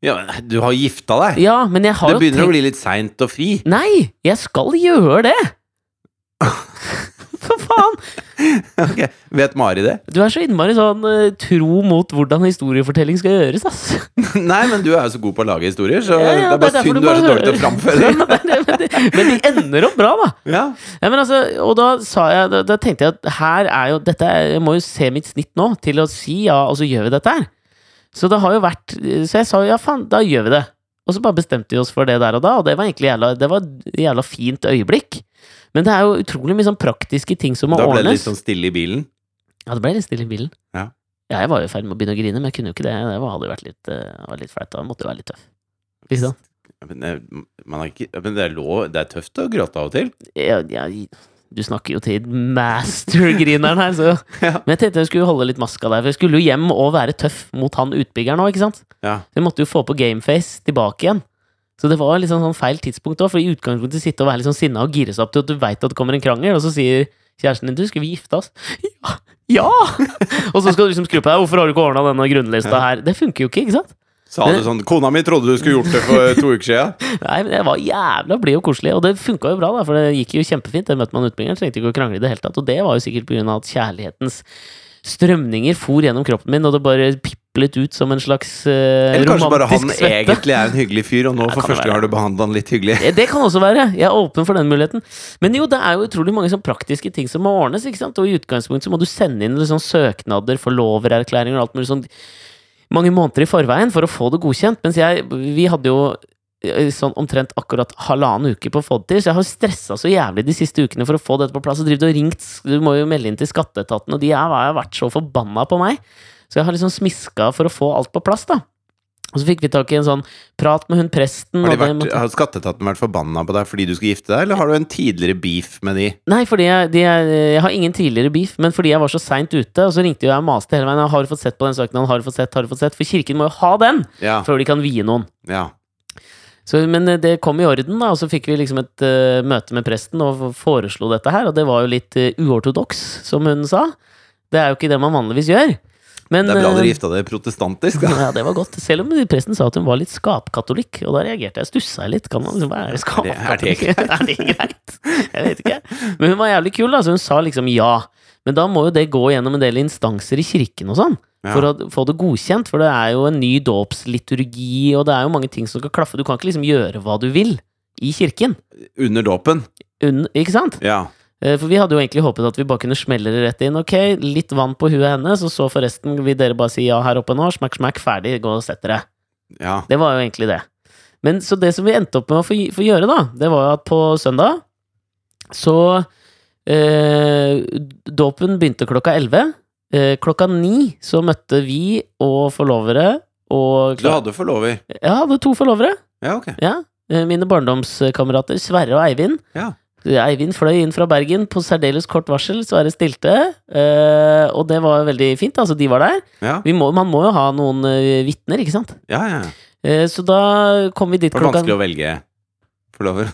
[SPEAKER 1] Ja, men du har gifta deg!
[SPEAKER 2] Ja, men jeg har
[SPEAKER 1] Det
[SPEAKER 2] jo
[SPEAKER 1] begynner å
[SPEAKER 2] tenkt,
[SPEAKER 1] bli litt seint å fri.
[SPEAKER 2] nei, jeg skal gjøre det. For faen,
[SPEAKER 1] Ok, Vet Mari det?
[SPEAKER 2] du er så innmari sånn eh, tro mot hvordan historiefortelling skal gjøres, ass.
[SPEAKER 1] Nei, men du er jo så god på å lage historier, så
[SPEAKER 2] Ja,
[SPEAKER 1] det
[SPEAKER 2] ja,
[SPEAKER 1] er bare
[SPEAKER 2] derfor
[SPEAKER 1] synd du er så
[SPEAKER 2] bare
[SPEAKER 1] dårlig til å framføre
[SPEAKER 2] hører. Ja, det er det, men, det, men de ender opp bra, da.
[SPEAKER 1] Ja.
[SPEAKER 2] Nei, men altså, og da, sa jeg, da, da tenkte jeg at her er jo dette er, Jeg må jo se mitt snitt nå til å si ja, og så gjør vi dette her. Så det har jo vært Så jeg sa jo ja, faen, da gjør vi det. Og så bare bestemte vi oss for det der og da, og det var egentlig jævla, det var et jævla fint øyeblikk. Men det er jo utrolig mye sånn praktiske ting som må
[SPEAKER 1] Da ble det
[SPEAKER 2] ordnes.
[SPEAKER 1] litt sånn stille i bilen.
[SPEAKER 2] Ja, det ble litt stille i bilen.
[SPEAKER 1] Ja.
[SPEAKER 2] Ja, jeg var jo i ferd med å begynne å grine, men jeg kunne jo ikke det. Det var- hadde jo vært litt, eh, var litt flaut. Da måtte jo være litt tøff. Ikke sant?
[SPEAKER 1] Ja, Men, det- man har ikke, ja, men det, er lov, det er tøft å gråte av og til.
[SPEAKER 2] ja, ja, du snakker jo til master-grineren her, så
[SPEAKER 1] Ja.
[SPEAKER 2] Men jeg tenkte jeg skulle holde litt maska der, for jeg skulle jo hjem og være tøff mot han utbyggeren òg, ikke sant?
[SPEAKER 1] Ja.
[SPEAKER 2] Så jeg måtte jo få på gameface tilbake igjen. Så det var liksom sånn feil tidspunkt òg, for i utgangspunktet sitte og være litt sånn sinna og gire seg opp til at du veit at det kommer en krangel, og så sier kjæresten din 'du, skal vi gifte oss'? Ja! ja! og så skal du liksom skru på deg 'hvorfor har du ikke ordna denne grunnlista her'? Det funker jo ikke, ikke sant?
[SPEAKER 1] Sa
[SPEAKER 2] Eh?
[SPEAKER 1] du sånn 'Kona mi trodde du skulle gjort det for to uker siden'.
[SPEAKER 2] Nei, men jeg var jævla blid og koselig, og det funka jo bra, da, for det gikk jo kjempefint. Det møtte man utbyggeren, trengte ikke å krangle i det hele tatt. Og det var jo sikkert pga. at kjærlighetens strømninger for gjennom kroppen min, og det bare piplet ut som en slags eh,
[SPEAKER 1] Eller kanskje bare han
[SPEAKER 2] romantisk svette.
[SPEAKER 1] egentlig er en hyggelig fyr, og nå
[SPEAKER 2] Ja,
[SPEAKER 1] for
[SPEAKER 2] kan det
[SPEAKER 1] første gang har du behandla han litt hyggelig.
[SPEAKER 2] Det, det kan også være. Jeg er åpen for den muligheten. Men jo, det er jo utrolig mange sånn praktiske ting som må ordnes. ikke sant? Og i utgangspunktet så må du sende inn liksom søknader, forlovererklæringer og alt mulig sånn mange måneder i forveien for å få det godkjent. Mens jeg Vi hadde jo eh, sånn omtrent akkurat halvannen uke på å få det til, så jeg har stressa så jævlig de siste ukene for å få dette på plass. Og drevet og ringt Du må jo melde inn til skatteetaten, og de er, har vært så forbanna på meg. Så jeg har liksom smiska for å få alt på plass, da. Og så fikk vi tak i en sånn prat med hun presten.
[SPEAKER 1] Har, de
[SPEAKER 2] og det
[SPEAKER 1] vært,
[SPEAKER 2] måtte-
[SPEAKER 1] har skatteetaten vært forbanna på deg fordi du skulle gifte deg, eller har du en tidligere beef med de?
[SPEAKER 2] Nei, fordi jeg, de, jeg har ingen tidligere beef, men fordi jeg var så seint ute, og så ringte jo jeg og maste hele veien. «Jeg 'Har du fått sett på den søknaden? Har du fått sett? Har du fått sett?' For kirken må jo ha den
[SPEAKER 1] Ja,
[SPEAKER 2] før de kan vie noen.
[SPEAKER 1] ja.
[SPEAKER 2] Så, men eh, det kom i orden, da, og så fikk vi liksom et eh, møte med presten og foreslo dette her, og det var jo litt uh, uortodoks, som hun sa. Det er jo ikke det man vanligvis gjør. Men,
[SPEAKER 1] Det er bra
[SPEAKER 2] eh,
[SPEAKER 1] dere gifta dere protestantisk, da.
[SPEAKER 2] ja, det var godt. Selv om presten sa at hun var litt skapkatolikk, og da reagerte jeg. Stussa jeg litt. Kan man liksom være
[SPEAKER 1] Er det-
[SPEAKER 2] skapkatolikk? Er det greit? Jeg vet ikke. Men hun var jævlig kul, da, så hun sa liksom ja. Men da må jo det gå gjennom en del instanser i kirken og sånn,
[SPEAKER 1] Ja.
[SPEAKER 2] for å få det godkjent. For det er jo en ny dåpsliturgi, og det er jo mange ting som skal klaffe. Du kan ikke liksom gjøre hva du vil i kirken.
[SPEAKER 1] Under dåpen.
[SPEAKER 2] Un ikke sant?
[SPEAKER 1] Ja.
[SPEAKER 2] Eh, For vi hadde jo egentlig håpet at vi bare kunne smelle det rett inn. Ok, litt vann på huet hennes, og så forresten vil dere bare si ja her oppe nå. Smakk, smakk, ferdig, gå og sett dere.
[SPEAKER 1] ja.
[SPEAKER 2] Det var jo egentlig det. Men så det som vi endte opp med å få, få gjøre, da, det var jo at på søndag så eh, Dåpen begynte klokka 11. Eh, klokka 9 så møtte vi og forlovere og
[SPEAKER 1] Du hadde forlover?
[SPEAKER 2] Jeg hadde to forlovere.
[SPEAKER 1] Ja, ok.
[SPEAKER 2] Ja. Eh, mine barndomskamerater Sverre og Eivind.
[SPEAKER 1] Ja.
[SPEAKER 2] Eivind fløy inn fra Bergen på særdeles kort varsel, Sverre stilte. eh, og det var veldig fint. Altså, de var der.
[SPEAKER 1] Ja,
[SPEAKER 2] Vi må, man må jo ha noen uh, vitner, ikke sant?
[SPEAKER 1] ja. ja.
[SPEAKER 2] Eh, så da kom vi dit
[SPEAKER 1] Var det vanskelig
[SPEAKER 2] klokka
[SPEAKER 1] å velge forlover?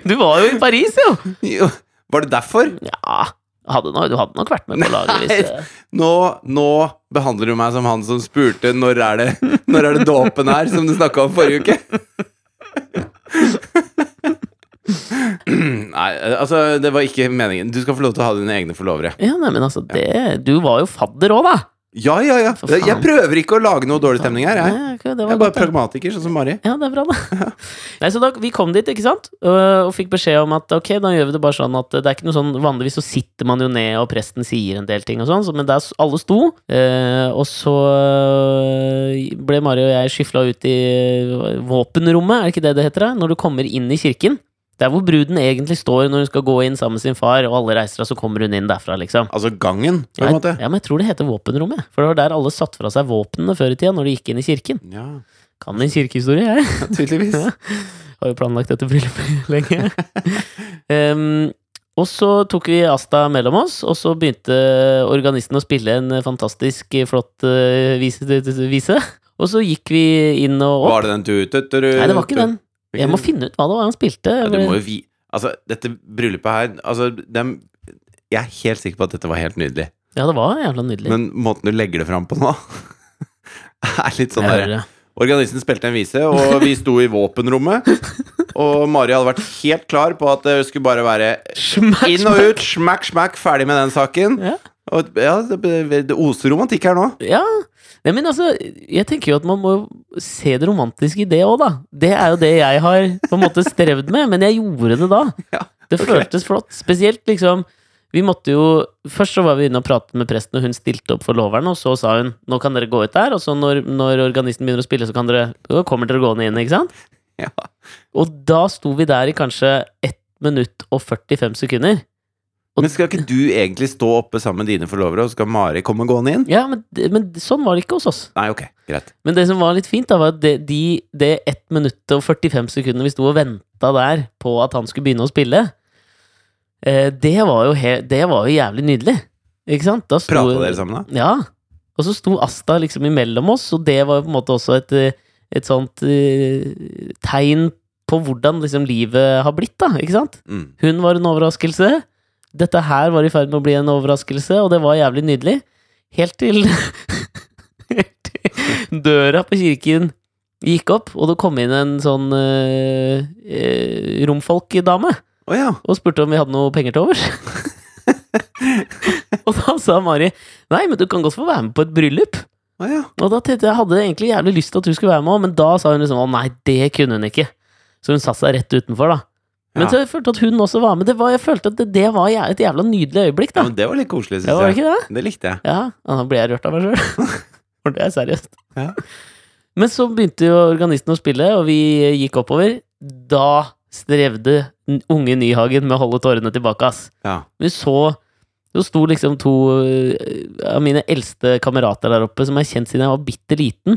[SPEAKER 2] Du var jo i Paris, jo!
[SPEAKER 1] Jo, Var det derfor?
[SPEAKER 2] Ja, hadde nok, du hadde nok vært med på laget hvis
[SPEAKER 1] Nei. Nå, nå behandler du meg som han som spurte når er det, når er det dåpen her, som du snakka om forrige uke. Nei, altså, det var ikke meningen. Du skal få lov til å ha dine egne forlovere.
[SPEAKER 2] Ja, nei, men altså, det Du var jo fadder òg, da!
[SPEAKER 1] Ja, ja, ja.
[SPEAKER 2] For faen.
[SPEAKER 1] Jeg prøver ikke å lage noe dårlig stemning her, jeg.
[SPEAKER 2] Nei, ok, det
[SPEAKER 1] Jeg
[SPEAKER 2] var
[SPEAKER 1] er bare
[SPEAKER 2] godt, da.
[SPEAKER 1] pragmatiker, sånn som Mari.
[SPEAKER 2] Ja, det er bra, da. Nei, så da, Vi kom dit, ikke sant? Og, og fikk beskjed om at ok, da gjør vi det bare sånn at eh, det er ikke noe sånn Vanligvis så sitter man jo ned, og presten sier en del ting og sånn, så, men der s- alle sto. Eh, og så eh, ble Mari og jeg skyfla ut i eh, våpenrommet, er det ikke det det heter? da? Når du kommer inn i kirken. Der hvor bruden egentlig står når hun skal gå inn sammen med sin far, og alle reiser av, så kommer hun inn derfra, liksom.
[SPEAKER 1] Altså gangen, på en måte.
[SPEAKER 2] Ja, men jeg tror det heter våpenrommet, for det var der alle satte fra seg våpnene før i tida, når de gikk inn i kirken.
[SPEAKER 1] Ja,
[SPEAKER 2] Kan din kirkehistorie, jeg.
[SPEAKER 1] tydeligvis.
[SPEAKER 2] Har jo planlagt dette bryllupet lenge. Em, og så tok vi Asta mellom oss, og så begynte organisten å spille en fantastisk eh, flott eh, vise. vise. Og så gikk vi inn og opp.
[SPEAKER 1] Var det den tu-tu-tu-tu?
[SPEAKER 2] Nei, det var ikke den. Jeg må finne ut hva det var han spilte.
[SPEAKER 1] Ja, du må jo vi... Altså, dette bryllupet her Altså, dem Jeg er helt sikker på at dette var helt nydelig.
[SPEAKER 2] Ja, det var jævla nydelig.
[SPEAKER 1] Men måten du legger det fram på nå, er litt sånn
[SPEAKER 2] Jeg hører
[SPEAKER 1] der
[SPEAKER 2] det.
[SPEAKER 1] Organisten spilte en vise, og vi sto i våpenrommet. Og Mari hadde vært helt klar på at det skulle bare være
[SPEAKER 2] Smash,
[SPEAKER 1] inn og ut, smakk, smakk, ferdig med den saken.
[SPEAKER 2] Ja.
[SPEAKER 1] Og ja, det, det oser romantikk her nå.
[SPEAKER 2] Ja. Nei, men altså, jeg tenker jo at man må jo se det romantiske i det òg, da. Det er jo det jeg har på en måte strevd med, men jeg gjorde det da.
[SPEAKER 1] Ja,
[SPEAKER 2] det
[SPEAKER 1] ok.
[SPEAKER 2] føltes flott. Spesielt liksom Vi måtte jo Først så var vi inne og pratet med presten, og hun stilte opp for loveren, og så sa hun nå kan dere gå ut der, og så når, når organisten begynner å spille, så kan dere da kommer dere gående inn, ikke sant?
[SPEAKER 1] Ja.
[SPEAKER 2] Og da sto vi der i kanskje 1 minutt og 45 sekunder. Og-
[SPEAKER 1] Men skal ikke du egentlig stå oppe sammen med dine forlovere, og så skal Mari komme gående inn?
[SPEAKER 2] Ja, men, men sånn var det ikke hos oss.
[SPEAKER 1] Nei, ok, greit.
[SPEAKER 2] Men det som var litt fint, da, var at det, de, det 1 minutt og 45 sekunder vi sto og venta der på at han skulle begynne å spille, eh, det, var jo he, det var jo jævlig nydelig. Ikke sant? Da sto-
[SPEAKER 1] Prata dere sammen, da?
[SPEAKER 2] Ja. Og så sto Asta liksom imellom oss, og det var jo på en måte også et, eh, et sånt eh, tegn på hvordan liksom livet har blitt, da. Ikke sant?
[SPEAKER 1] Mm.
[SPEAKER 2] Hun var en overraskelse. Dette her var i ferd med å bli en overraskelse, og det var jævlig nydelig. Helt til Helt til døra på kirken gikk opp, og det kom inn en sånn uh, romfolkdame
[SPEAKER 1] Å ja.
[SPEAKER 2] og spurte om vi hadde noe penger til overs. og da sa Mari nei, men du kan godt få være med på et bryllup.
[SPEAKER 1] Å ja.
[SPEAKER 2] Og da tenkte jeg, jeg hadde egentlig jævlig lyst til at du skulle være med òg, men da sa hun liksom å nei, det kunne hun ikke. Så hun satte seg rett utenfor, da. Men
[SPEAKER 1] Ja.
[SPEAKER 2] så jeg følte at hun også var med. Det var, jeg følte at det, det var jæ- et jævla nydelig øyeblikk,
[SPEAKER 1] ja
[SPEAKER 2] da.
[SPEAKER 1] men det var litt koselig,
[SPEAKER 2] Ja, var det
[SPEAKER 1] syns jeg.
[SPEAKER 2] ikke det?
[SPEAKER 1] Det likte jeg.
[SPEAKER 2] Ja, ja, da ble jeg rørt av meg sjøl. For det er seriøst.
[SPEAKER 1] Ja.
[SPEAKER 2] Men så begynte jo organisten å spille, og vi gikk oppover. Da strevde n- unge Nyhagen med å holde tårene tilbake, ass.
[SPEAKER 1] Ja.
[SPEAKER 2] Vi så Det sto liksom to eh, av mine eldste kamerater der oppe, som jeg har kjent siden jeg var bitte liten.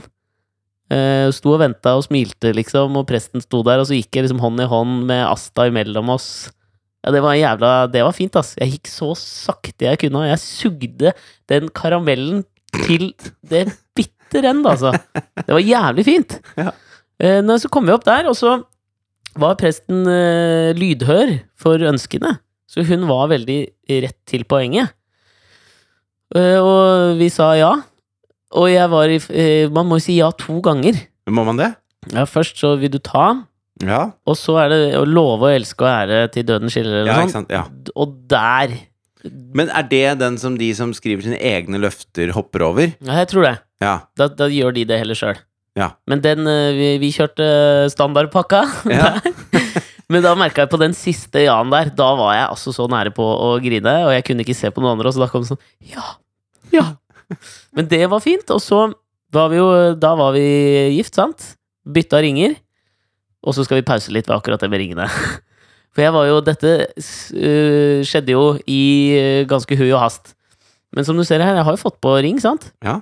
[SPEAKER 2] Eh, sto og venta og smilte, liksom, og presten sto der, og så gikk jeg liksom hånd i hånd med Asta imellom oss. Ja, det var jævla Det var fint, ass. Jeg gikk så sakte jeg kunne, og jeg sugde den karamellen til det bitter ende, altså. Det var jævlig fint.
[SPEAKER 1] Ja.
[SPEAKER 2] Eh, nei, så kom vi opp der, og så var presten eh, lydhør for ønskene. Så hun var veldig rett til poenget. Eh, og vi sa ja. Og jeg var i f- eh, Man må jo si ja to ganger.
[SPEAKER 1] Men Må man det?
[SPEAKER 2] Ja, først så vil du ta,
[SPEAKER 1] Ja.
[SPEAKER 2] og så er det å love å elske og ære til døden
[SPEAKER 1] ja,
[SPEAKER 2] skiller, eller sånn.
[SPEAKER 1] ikke
[SPEAKER 2] noe sånt.
[SPEAKER 1] sant. Ja.
[SPEAKER 2] Og der
[SPEAKER 1] Men er det den som de som skriver sine egne løfter, hopper over?
[SPEAKER 2] Ja, jeg tror det.
[SPEAKER 1] Ja.
[SPEAKER 2] Da, da gjør de det heller sjøl.
[SPEAKER 1] Ja.
[SPEAKER 2] Men den eh, Vi, vi kjørte eh, standardpakka
[SPEAKER 1] Ja.
[SPEAKER 2] der. Men da merka jeg på den siste ja-en der, da var jeg altså så nære på å grine, og jeg kunne ikke se på noen andre, og så da kom det sånn Ja! Ja! Men det var fint, og så Da var vi jo da var vi gift, sant? Bytta ringer. Og så skal vi pause litt ved akkurat det med ringene. For jeg var jo Dette s- øh, skjedde jo i øh, ganske hui og hast. Men som du ser her, jeg har jo fått på ring, sant?
[SPEAKER 1] Ja.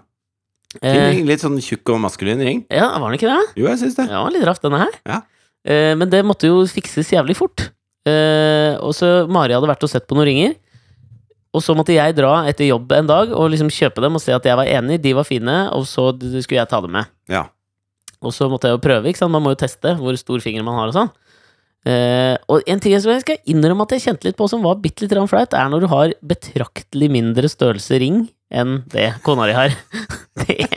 [SPEAKER 1] Fin
[SPEAKER 2] Eh,
[SPEAKER 1] ring. Litt sånn tjukk og maskulin ring.
[SPEAKER 2] ja, var den ikke det?
[SPEAKER 1] Jo, jeg syns det.
[SPEAKER 2] Ja, litt raff denne her.
[SPEAKER 1] Ja.
[SPEAKER 2] Eh, men det måtte jo fikses jævlig fort. Eh, og så Mari hadde vært og sett på noen ringer. Og så måtte jeg dra etter jobb en dag og liksom kjøpe dem og se at jeg var enig, de var fine, og så d- skulle jeg ta dem med.
[SPEAKER 1] Ja.
[SPEAKER 2] Og så måtte jeg jo prøve, ikke sant? man må jo teste hvor stor finger man har og sånn. Eh, og en ting som jeg skal innrømme at jeg kjente litt på som var bitte litt grann flaut, er når du har betraktelig mindre størrelse ring enn det kona di har. det,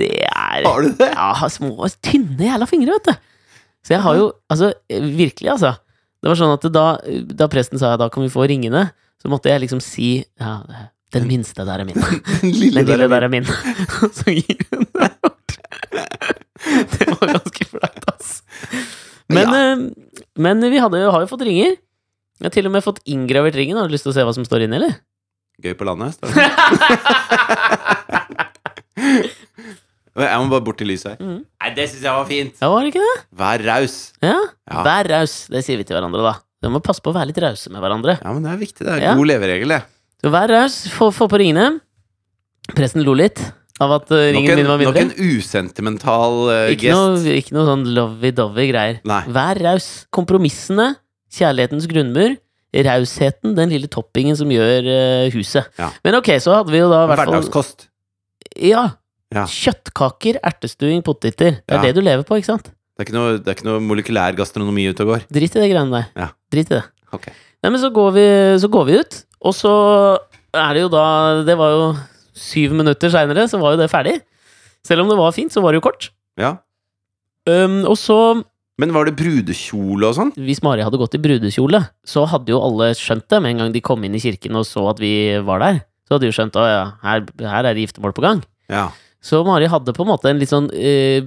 [SPEAKER 2] det er
[SPEAKER 1] Har du det?
[SPEAKER 2] ja, har små, tynne jævla fingre, vet du. Så jeg har jo Altså, virkelig, altså. Det var sånn at da, da presten sa da kan vi få ringene, så måtte jeg liksom si ja, den minste der er min.
[SPEAKER 1] Den lille,
[SPEAKER 2] Den
[SPEAKER 1] der.
[SPEAKER 2] lille der er min. Og så gir hun den bort. Det var ganske flaut, ass. Men, eh, men vi hadde, jo- har jo fått ringer. Jeg har til og med fått inngravert ringen. Har du lyst til å se hva som står inni, eller?
[SPEAKER 1] Gøy på landet. altså. står det. Jeg må bare bort til lyset her.
[SPEAKER 2] Mhm.
[SPEAKER 1] Nei, det syns jeg var fint.
[SPEAKER 2] Ja, var det ikke det?
[SPEAKER 1] Vær raus.
[SPEAKER 2] Ja.
[SPEAKER 1] Ja.
[SPEAKER 2] Vær raus. Det sier vi til hverandre, da. Vi må passe på å være litt rause med hverandre.
[SPEAKER 1] Ja, men det er viktig. Det er
[SPEAKER 2] Ja.
[SPEAKER 1] god leveregel, det.
[SPEAKER 2] Så vær raus, få, få på ringene. Presten lo litt av at eh,
[SPEAKER 1] Nok
[SPEAKER 2] ringen
[SPEAKER 1] en,
[SPEAKER 2] min var
[SPEAKER 1] nok
[SPEAKER 2] mindre.
[SPEAKER 1] en usentimental eh,
[SPEAKER 2] Ikke noe,
[SPEAKER 1] gest.
[SPEAKER 2] ikke noe sånn lovey-dovey-greier.
[SPEAKER 1] Nei.
[SPEAKER 2] Vær raus. Kompromissene, kjærlighetens grunnmur, rausheten, den lille toppingen som gjør eh, huset.
[SPEAKER 1] Ja.
[SPEAKER 2] Men ok, så hadde vi jo da i hvert fall
[SPEAKER 1] Hverdagskost.
[SPEAKER 2] ja,
[SPEAKER 1] Ja.
[SPEAKER 2] Kjøttkaker, ertestuing, poteter. Det er
[SPEAKER 1] Ja.
[SPEAKER 2] det du lever på, ikke sant?
[SPEAKER 1] Det er ikke noe, det er ikke noe molekylær gastronomi ute og går.
[SPEAKER 2] Drit i det greiene der.
[SPEAKER 1] Ja.
[SPEAKER 2] Drit i det.
[SPEAKER 1] Ok.
[SPEAKER 2] Nei, men så går, vi, så går vi ut, og så er det jo da Det var jo syv minutter seinere, så var jo det ferdig. Selv om det var fint, så var det jo kort.
[SPEAKER 1] Ja.
[SPEAKER 2] Um, og så,
[SPEAKER 1] Men var det brudekjole og sånn?
[SPEAKER 2] hvis Mari hadde gått i brudekjole, så hadde jo alle skjønt det med en gang de kom inn i kirken og så at vi var der. Så hadde de jo skjønt at ja, her, her er det giftermål på gang.
[SPEAKER 1] Ja.
[SPEAKER 2] Så Mari hadde på en måte en litt sånn eh,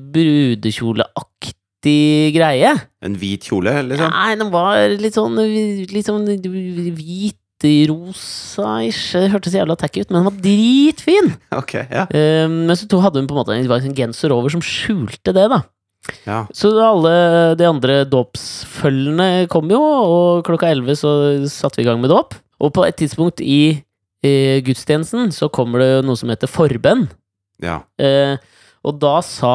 [SPEAKER 2] brudekjoleaktig greie.
[SPEAKER 1] En hvit kjole, liksom?
[SPEAKER 2] Nei, den var litt sånn, litt sånn hvit, rosa-ish. Det Hørtes jævla tacky ut, men den var dritfin!
[SPEAKER 1] Ok, ja.
[SPEAKER 2] Eh, men så to- hadde hun på en måte en, det var en genser over som skjulte det, da.
[SPEAKER 1] ja.
[SPEAKER 2] Så alle de andre dåpsfølgene kom jo, og klokka elleve så satte vi i gang med dåp. Og på et tidspunkt i eh, gudstjenesten så kommer det jo noe som heter forbønn.
[SPEAKER 1] ja.
[SPEAKER 2] Eh, og da sa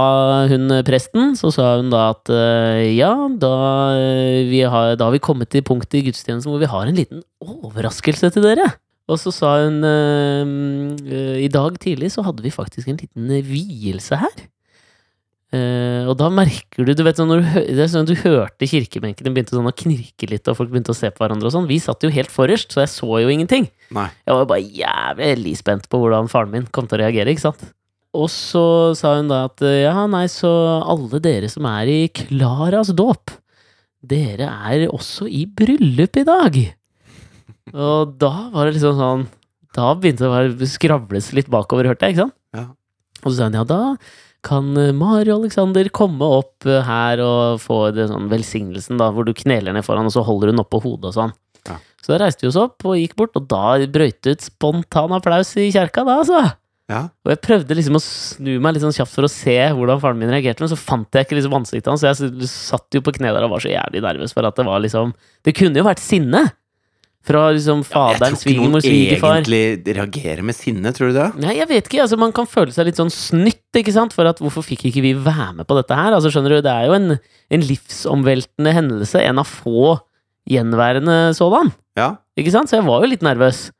[SPEAKER 2] hun eh, presten, så sa hun da at eh, ja, da, eh, vi har, da har vi kommet til punktet i gudstjenesten hvor vi har en liten overraskelse til dere. Og så sa hun eh, mm, eh, i dag tidlig så hadde vi faktisk en liten eh, vielse her. Eh, og da merker du du vet sånn, når du, hø- det er sånn at du hørte kirkebenkene begynte sånn å knirke litt, og folk begynte å se på hverandre og sånn. Vi satt jo helt forrest, så jeg så jo ingenting.
[SPEAKER 1] Nei.
[SPEAKER 2] Jeg var bare jævlig spent på hvordan faren min kom til å reagere, ikke sant? Og så sa hun da at eh, ja, nei, så alle dere som er i Klaras dåp, dere er også i bryllup i dag. Og da var det liksom sånn Da begynte det å være- skravles litt bakover, hørte jeg, ikke sant?
[SPEAKER 1] Ja.
[SPEAKER 2] Og så sa hun ja, da kan eh, Mari og Aleksander komme opp eh, her og få det sånn velsignelsen, da, hvor du kneler ned foran, og så holder hun oppå hodet og sånn.
[SPEAKER 1] Ja.
[SPEAKER 2] Så da reiste vi oss opp og gikk bort, og da brøyt det ut spontan applaus i kjerka, da, altså.
[SPEAKER 1] ja.
[SPEAKER 2] Og jeg prøvde liksom å snu meg litt sånn kjapt for å se hvordan faren min reagerte, men så fant jeg ikke liksom ansiktet hans, så jeg s- satt jo på kne der og var så jævlig nervøs for at det var liksom Det kunne jo vært sinne! Fra liksom faderen, svigermor, svigerfar
[SPEAKER 1] egentlig reagerer med sinne, tror du det?
[SPEAKER 2] Nei, jeg vet ikke. altså Man kan føle seg litt sånn snytt, ikke sant? For at hvorfor fikk ikke vi være med på dette her? Altså skjønner du, Det er jo en, en livsomveltende hendelse. En av få gjenværende sådan.
[SPEAKER 1] Ja.
[SPEAKER 2] Ikke sant? Så jeg var jo litt nervøs.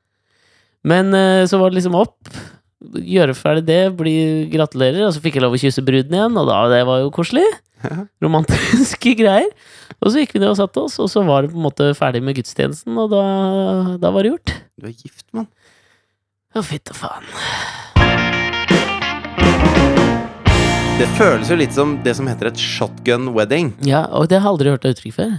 [SPEAKER 2] Men eh, så var det liksom opp. Gjøre ferdig det, bli gratulerer. Og så fikk jeg lov å kysse bruden igjen, og da, det var jo koselig. Romantiske greier. Og så gikk vi ned og satte oss, og så var det på en måte ferdig med gudstjenesten, og da, da var det gjort.
[SPEAKER 1] Du er gift, mann.
[SPEAKER 2] Å, fytte faen.
[SPEAKER 1] Det føles jo litt som det som heter et shotgun wedding.
[SPEAKER 2] Ja, og det har jeg aldri hørt det uttrykk før.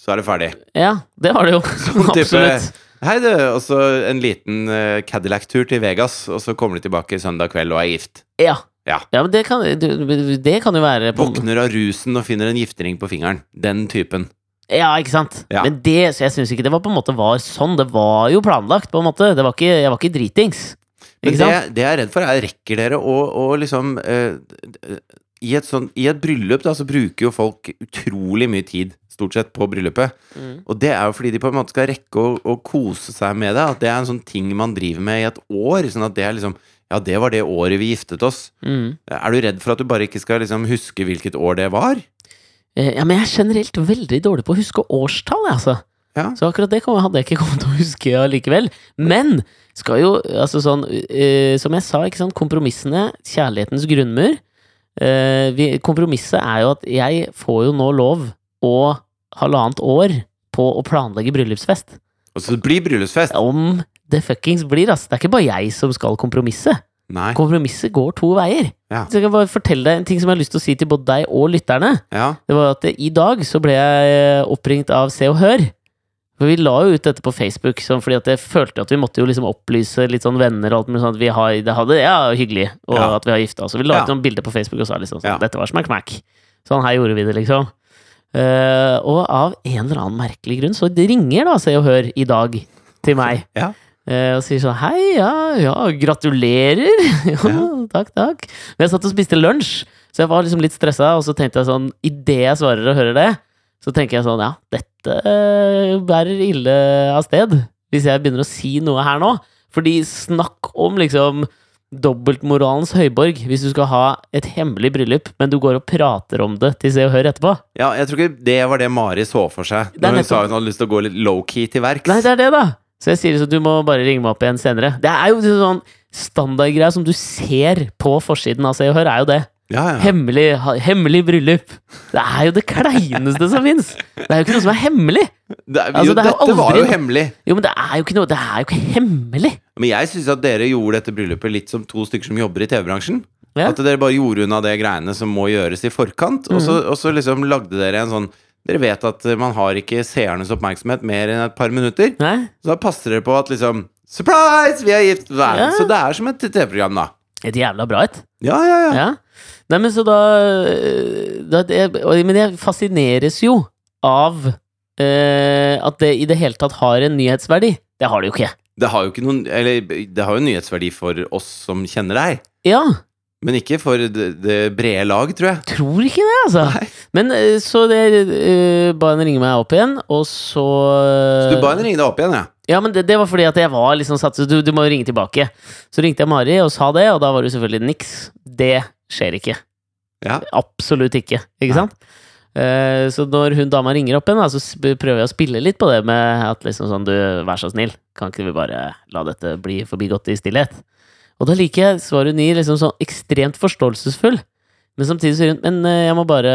[SPEAKER 1] Så er det ferdig.
[SPEAKER 2] Ja, det var det jo.
[SPEAKER 1] type-
[SPEAKER 2] Absolutt.
[SPEAKER 1] Hei, du. Og så en liten eh, Cadillac-tur til Vegas, og så kommer de tilbake søndag kveld og er gift.
[SPEAKER 2] Ja.
[SPEAKER 1] Ja.
[SPEAKER 2] men det kan, du- det kan jo være på,
[SPEAKER 1] Våkner av rusen og finner en giftering på fingeren. Den typen.
[SPEAKER 2] Ja, ikke sant?
[SPEAKER 1] Ja.
[SPEAKER 2] Men det, så jeg syns ikke det var på en måte var sånn. Det var jo planlagt, på en måte. Det var ikke, jeg var ikke dritings. Ikke
[SPEAKER 1] Men
[SPEAKER 2] Ikke
[SPEAKER 1] det,
[SPEAKER 2] sant?
[SPEAKER 1] det jeg er redd for, er rekker dere å, å liksom eh, i, et sånn, I et bryllup da, så bruker jo folk utrolig mye tid, stort sett, på bryllupet.
[SPEAKER 2] Mm.
[SPEAKER 1] Og det er jo fordi de på en måte skal rekke å, å kose seg med det. At det er en sånn ting man driver med i et år. Sånn at det er liksom Ja, det var det året vi giftet oss.
[SPEAKER 2] Mm.
[SPEAKER 1] Er du redd for at du bare ikke skal liksom huske hvilket år det var?
[SPEAKER 2] Eh, Ja, men jeg er generelt veldig dårlig på å huske årstall, jeg, altså.
[SPEAKER 1] Ja.
[SPEAKER 2] Så akkurat det kom- hadde jeg ikke kommet til å huske allikevel. Men skal jo, altså sånn, eh, som jeg sa, ikke sant, kompromissene, kjærlighetens grunnmur eh, vi, Kompromisset er jo at jeg får jo nå lov å halvannet år på å planlegge bryllupsfest.
[SPEAKER 1] Og så blir bryllupsfest.
[SPEAKER 2] Om det fuckings blir, ass. Det er ikke bare jeg som skal kompromisse.
[SPEAKER 1] Nei.
[SPEAKER 2] Kompromisset går to veier.
[SPEAKER 1] Ja.
[SPEAKER 2] Så jeg kan bare fortelle deg en ting som jeg har lyst til å si til både deg og lytterne.
[SPEAKER 1] Ja.
[SPEAKER 2] Det var at i dag så ble jeg eh, oppringt av Se og Hør. For vi la jo ut dette på Facebook, sånn fordi at jeg følte at vi måtte jo liksom opplyse litt sånn venner og alt mulig sånn at vi har, det hadde, ja, hyggelig, og
[SPEAKER 1] Ja.
[SPEAKER 2] at vi har gifta oss. Så vi la ut
[SPEAKER 1] Ja.
[SPEAKER 2] noen bilder på Facebook og sa liksom sånn,
[SPEAKER 1] Ja.
[SPEAKER 2] dette var smack smack. Sånn her gjorde vi det, liksom. Eh, og av en eller annen merkelig grunn så ringer da Se og Hør i dag til meg.
[SPEAKER 1] Ja.
[SPEAKER 2] Eh, og sier sånn Hei, ja, ja, gratulerer! ja, takk, takk. Men jeg satt og spiste lunsj, så jeg var liksom litt stressa, og så tenkte jeg sånn Idet jeg svarer og hører det, så tenker jeg sånn Ja, dette eh, bærer ille av sted. Hvis jeg begynner å si noe her nå. Fordi snakk om liksom dobbeltmoralens høyborg hvis du skal ha et hemmelig bryllup, men du går og prater om det til Se og Hør etterpå.
[SPEAKER 1] ja. Jeg tror ikke det var det Mari så for seg
[SPEAKER 2] Det
[SPEAKER 1] når
[SPEAKER 2] er
[SPEAKER 1] hun
[SPEAKER 2] nettopp-
[SPEAKER 1] sa hun hadde lyst til å gå litt low-key til verks.
[SPEAKER 2] Nei, det er det, da! Så jeg sier liksom, du må bare ringe meg opp igjen senere. Det er jo sånn standardgreia som du ser på forsiden av Se og Hør, er jo det.
[SPEAKER 1] ja, ja.
[SPEAKER 2] Hemmelig, ha- hemmelig bryllup. Det er jo det kleineste som fins! Det er jo ikke noe som er hemmelig!
[SPEAKER 1] Det, er-
[SPEAKER 2] Altså,
[SPEAKER 1] jo,
[SPEAKER 2] det er jo
[SPEAKER 1] dette var
[SPEAKER 2] aldri-
[SPEAKER 1] jo hemmelig.
[SPEAKER 2] Jo, men det er jo ikke noe Det er jo ikke hemmelig!
[SPEAKER 1] Men jeg syns at dere gjorde dette bryllupet litt som to stykker som jobber i TV-bransjen.
[SPEAKER 2] Ja.
[SPEAKER 1] At dere bare gjorde unna det greiene som må gjøres i forkant, og, så,
[SPEAKER 2] Mhm.
[SPEAKER 1] og så liksom lagde dere en sånn Dere vet at eh, man har ikke seernes oppmerksomhet mer enn et par minutter,
[SPEAKER 2] Nei?
[SPEAKER 1] så da passer dere på at liksom Surprise! Vi er gift! Hva er det?
[SPEAKER 2] Ja.
[SPEAKER 1] Så det er som et TV-program, da.
[SPEAKER 2] Et jævla bra et.
[SPEAKER 1] Ja, ja, ja.
[SPEAKER 2] Ja. Nei, men så da, øh, da det, og- Men jeg fascineres jo av øh, at det i det hele tatt har en nyhetsverdi. Det har det jo ikke.
[SPEAKER 1] Det har jo ikke noen Eller det har jo nyhetsverdi for oss som kjenner deg,
[SPEAKER 2] Ja,
[SPEAKER 1] men ikke for det, det brede lag, tror jeg.
[SPEAKER 2] tror ikke det, altså.
[SPEAKER 1] Nei.
[SPEAKER 2] Men øh, så det, øh, ba henne ringe meg opp igjen, og så
[SPEAKER 1] Så du ba
[SPEAKER 2] Eh.
[SPEAKER 1] henne ringe deg opp igjen, ja.
[SPEAKER 2] Ja, men det, det var fordi at jeg var liksom satt så du, du må jo ringe tilbake. Så ringte jeg Mari og sa det, og da var det jo selvfølgelig niks. Det skjer ikke.
[SPEAKER 1] Ja.
[SPEAKER 2] Absolutt ikke. Ikke
[SPEAKER 1] Nei.
[SPEAKER 2] sant? Eh, så når hun dama ringer opp igjen, da, så sp- prøver jeg å spille litt på det med at liksom sånn, du, vær så snill, kan ikke vi bare la dette bli forbigått i stillhet? Og da liker jeg svaret hun gir, liksom sånn ekstremt forståelsesfull. Men samtidig så sier hun Men eh, jeg må bare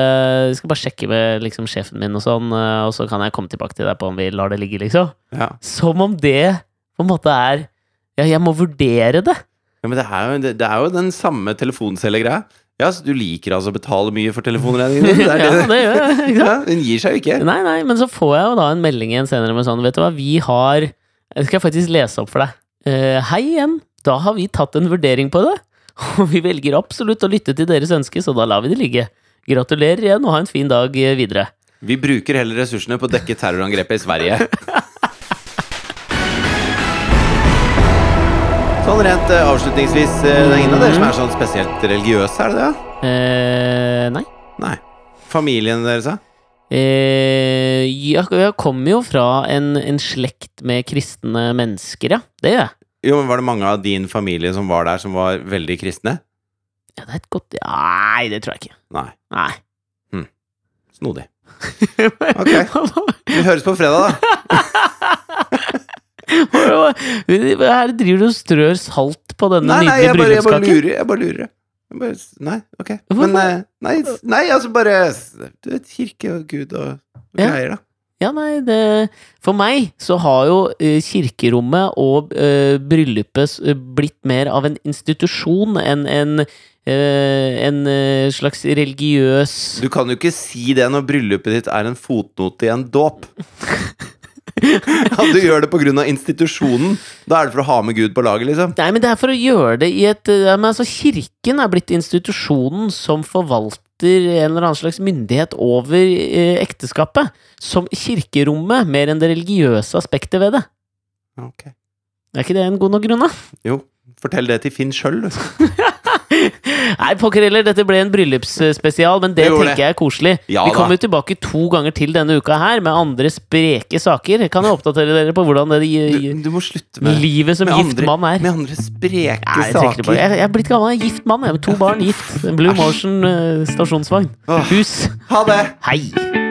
[SPEAKER 2] jeg skal bare sjekke med liksom, sjefen min, og sånn, eh, og så kan jeg komme tilbake til deg på om vi lar det ligge, liksom.
[SPEAKER 1] ja.
[SPEAKER 2] Som om det på en måte er Ja, jeg må vurdere det.
[SPEAKER 1] Ja, men det er jo, det, det er jo den samme telefonselgergreia. Ja, så du liker altså å betale mye for telefonregningen? Det
[SPEAKER 2] ja,
[SPEAKER 1] er det.
[SPEAKER 2] det gjør jeg. Ikke sant?
[SPEAKER 1] Ja, hun gir seg jo ikke.
[SPEAKER 2] Nei, nei, men så får jeg jo da en melding igjen senere med sånn Vet du hva, vi har Det skal jeg faktisk lese opp for deg. Eh, hei igjen. Da har vi tatt en vurdering på det, og vi velger absolutt å lytte til deres ønske, så da lar vi det ligge. Gratulerer igjen, og ha en fin dag eh, videre.
[SPEAKER 1] Vi bruker heller ressursene på å dekke terrorangrepet i Sverige. Sånn rent eh, avslutningsvis, eh, det er ingen av dere som er sånn spesielt religiøse, er det det?
[SPEAKER 2] Eh, nei.
[SPEAKER 1] Nei. Familien deres, da?
[SPEAKER 2] Eh, jeg, jeg kommer jo fra en, en slekt med kristne mennesker, ja. Det gjør jeg.
[SPEAKER 1] Jo, men var det mange av din familie som var der, som var veldig kristne?
[SPEAKER 2] Ja, det er et godt Nei, det tror jeg ikke.
[SPEAKER 1] Nei.
[SPEAKER 2] Nei.
[SPEAKER 1] Snodig. Vi høres på fredag, da.
[SPEAKER 2] Hva er det driver du og strør salt på denne
[SPEAKER 1] Nei, nei,
[SPEAKER 2] nydelige
[SPEAKER 1] jeg bare, jeg bare
[SPEAKER 2] bryllupskaken?
[SPEAKER 1] lurer. Jeg bare lurer. Jeg bare, s- nei, ok.
[SPEAKER 2] Hvorfor?
[SPEAKER 1] Men eh, nei, s- nei, altså bare s- Du vet, kirke og Gud og, og
[SPEAKER 2] Ja.
[SPEAKER 1] greier, da.
[SPEAKER 2] Ja, nei, det, for meg så har jo eh, kirkerommet og eh, bryllupet s- blitt mer av en institusjon enn en, eh, en eh, slags religiøs
[SPEAKER 1] Du kan jo ikke si det når bryllupet ditt er en fotnote i en dåp. At du gjør det pga. institusjonen. Da er det for å ha med Gud på laget, liksom.
[SPEAKER 2] Nei, men det er for å gjøre det i et ja, men altså, Kirken er blitt institusjonen som forvalter en eller annen slags myndighet over eh, ekteskapet. Som kirkerommet, mer enn det religiøse aspektet ved det.
[SPEAKER 1] Ok.
[SPEAKER 2] Er ikke det en god nok grunn, da?
[SPEAKER 1] Jo. Fortell det til Finn sjøl.
[SPEAKER 2] Nei, pokker heller, dette ble en bryllupsspesial, men det
[SPEAKER 1] Det gjorde
[SPEAKER 2] tenker jeg er koselig.
[SPEAKER 1] Ja
[SPEAKER 2] Vi
[SPEAKER 1] da.
[SPEAKER 2] kommer jo tilbake to ganger til denne uka her med andre spreke saker. Kan jeg oppdatere dere på hvordan det
[SPEAKER 1] Du, du må slutte med
[SPEAKER 2] livet som
[SPEAKER 1] med
[SPEAKER 2] gift
[SPEAKER 1] andre-
[SPEAKER 2] mann er?
[SPEAKER 1] Med andre spreke
[SPEAKER 2] Nei, jeg, trekker det
[SPEAKER 1] saker.
[SPEAKER 2] bare. jeg, jeg er blitt gammel, jeg er gift mann. Jeg har to barn, gift. Blue
[SPEAKER 1] Æsj.
[SPEAKER 2] Motion eh, stasjonsvogn.
[SPEAKER 1] Åh.
[SPEAKER 2] Hus.
[SPEAKER 1] Ha det!
[SPEAKER 2] Hei!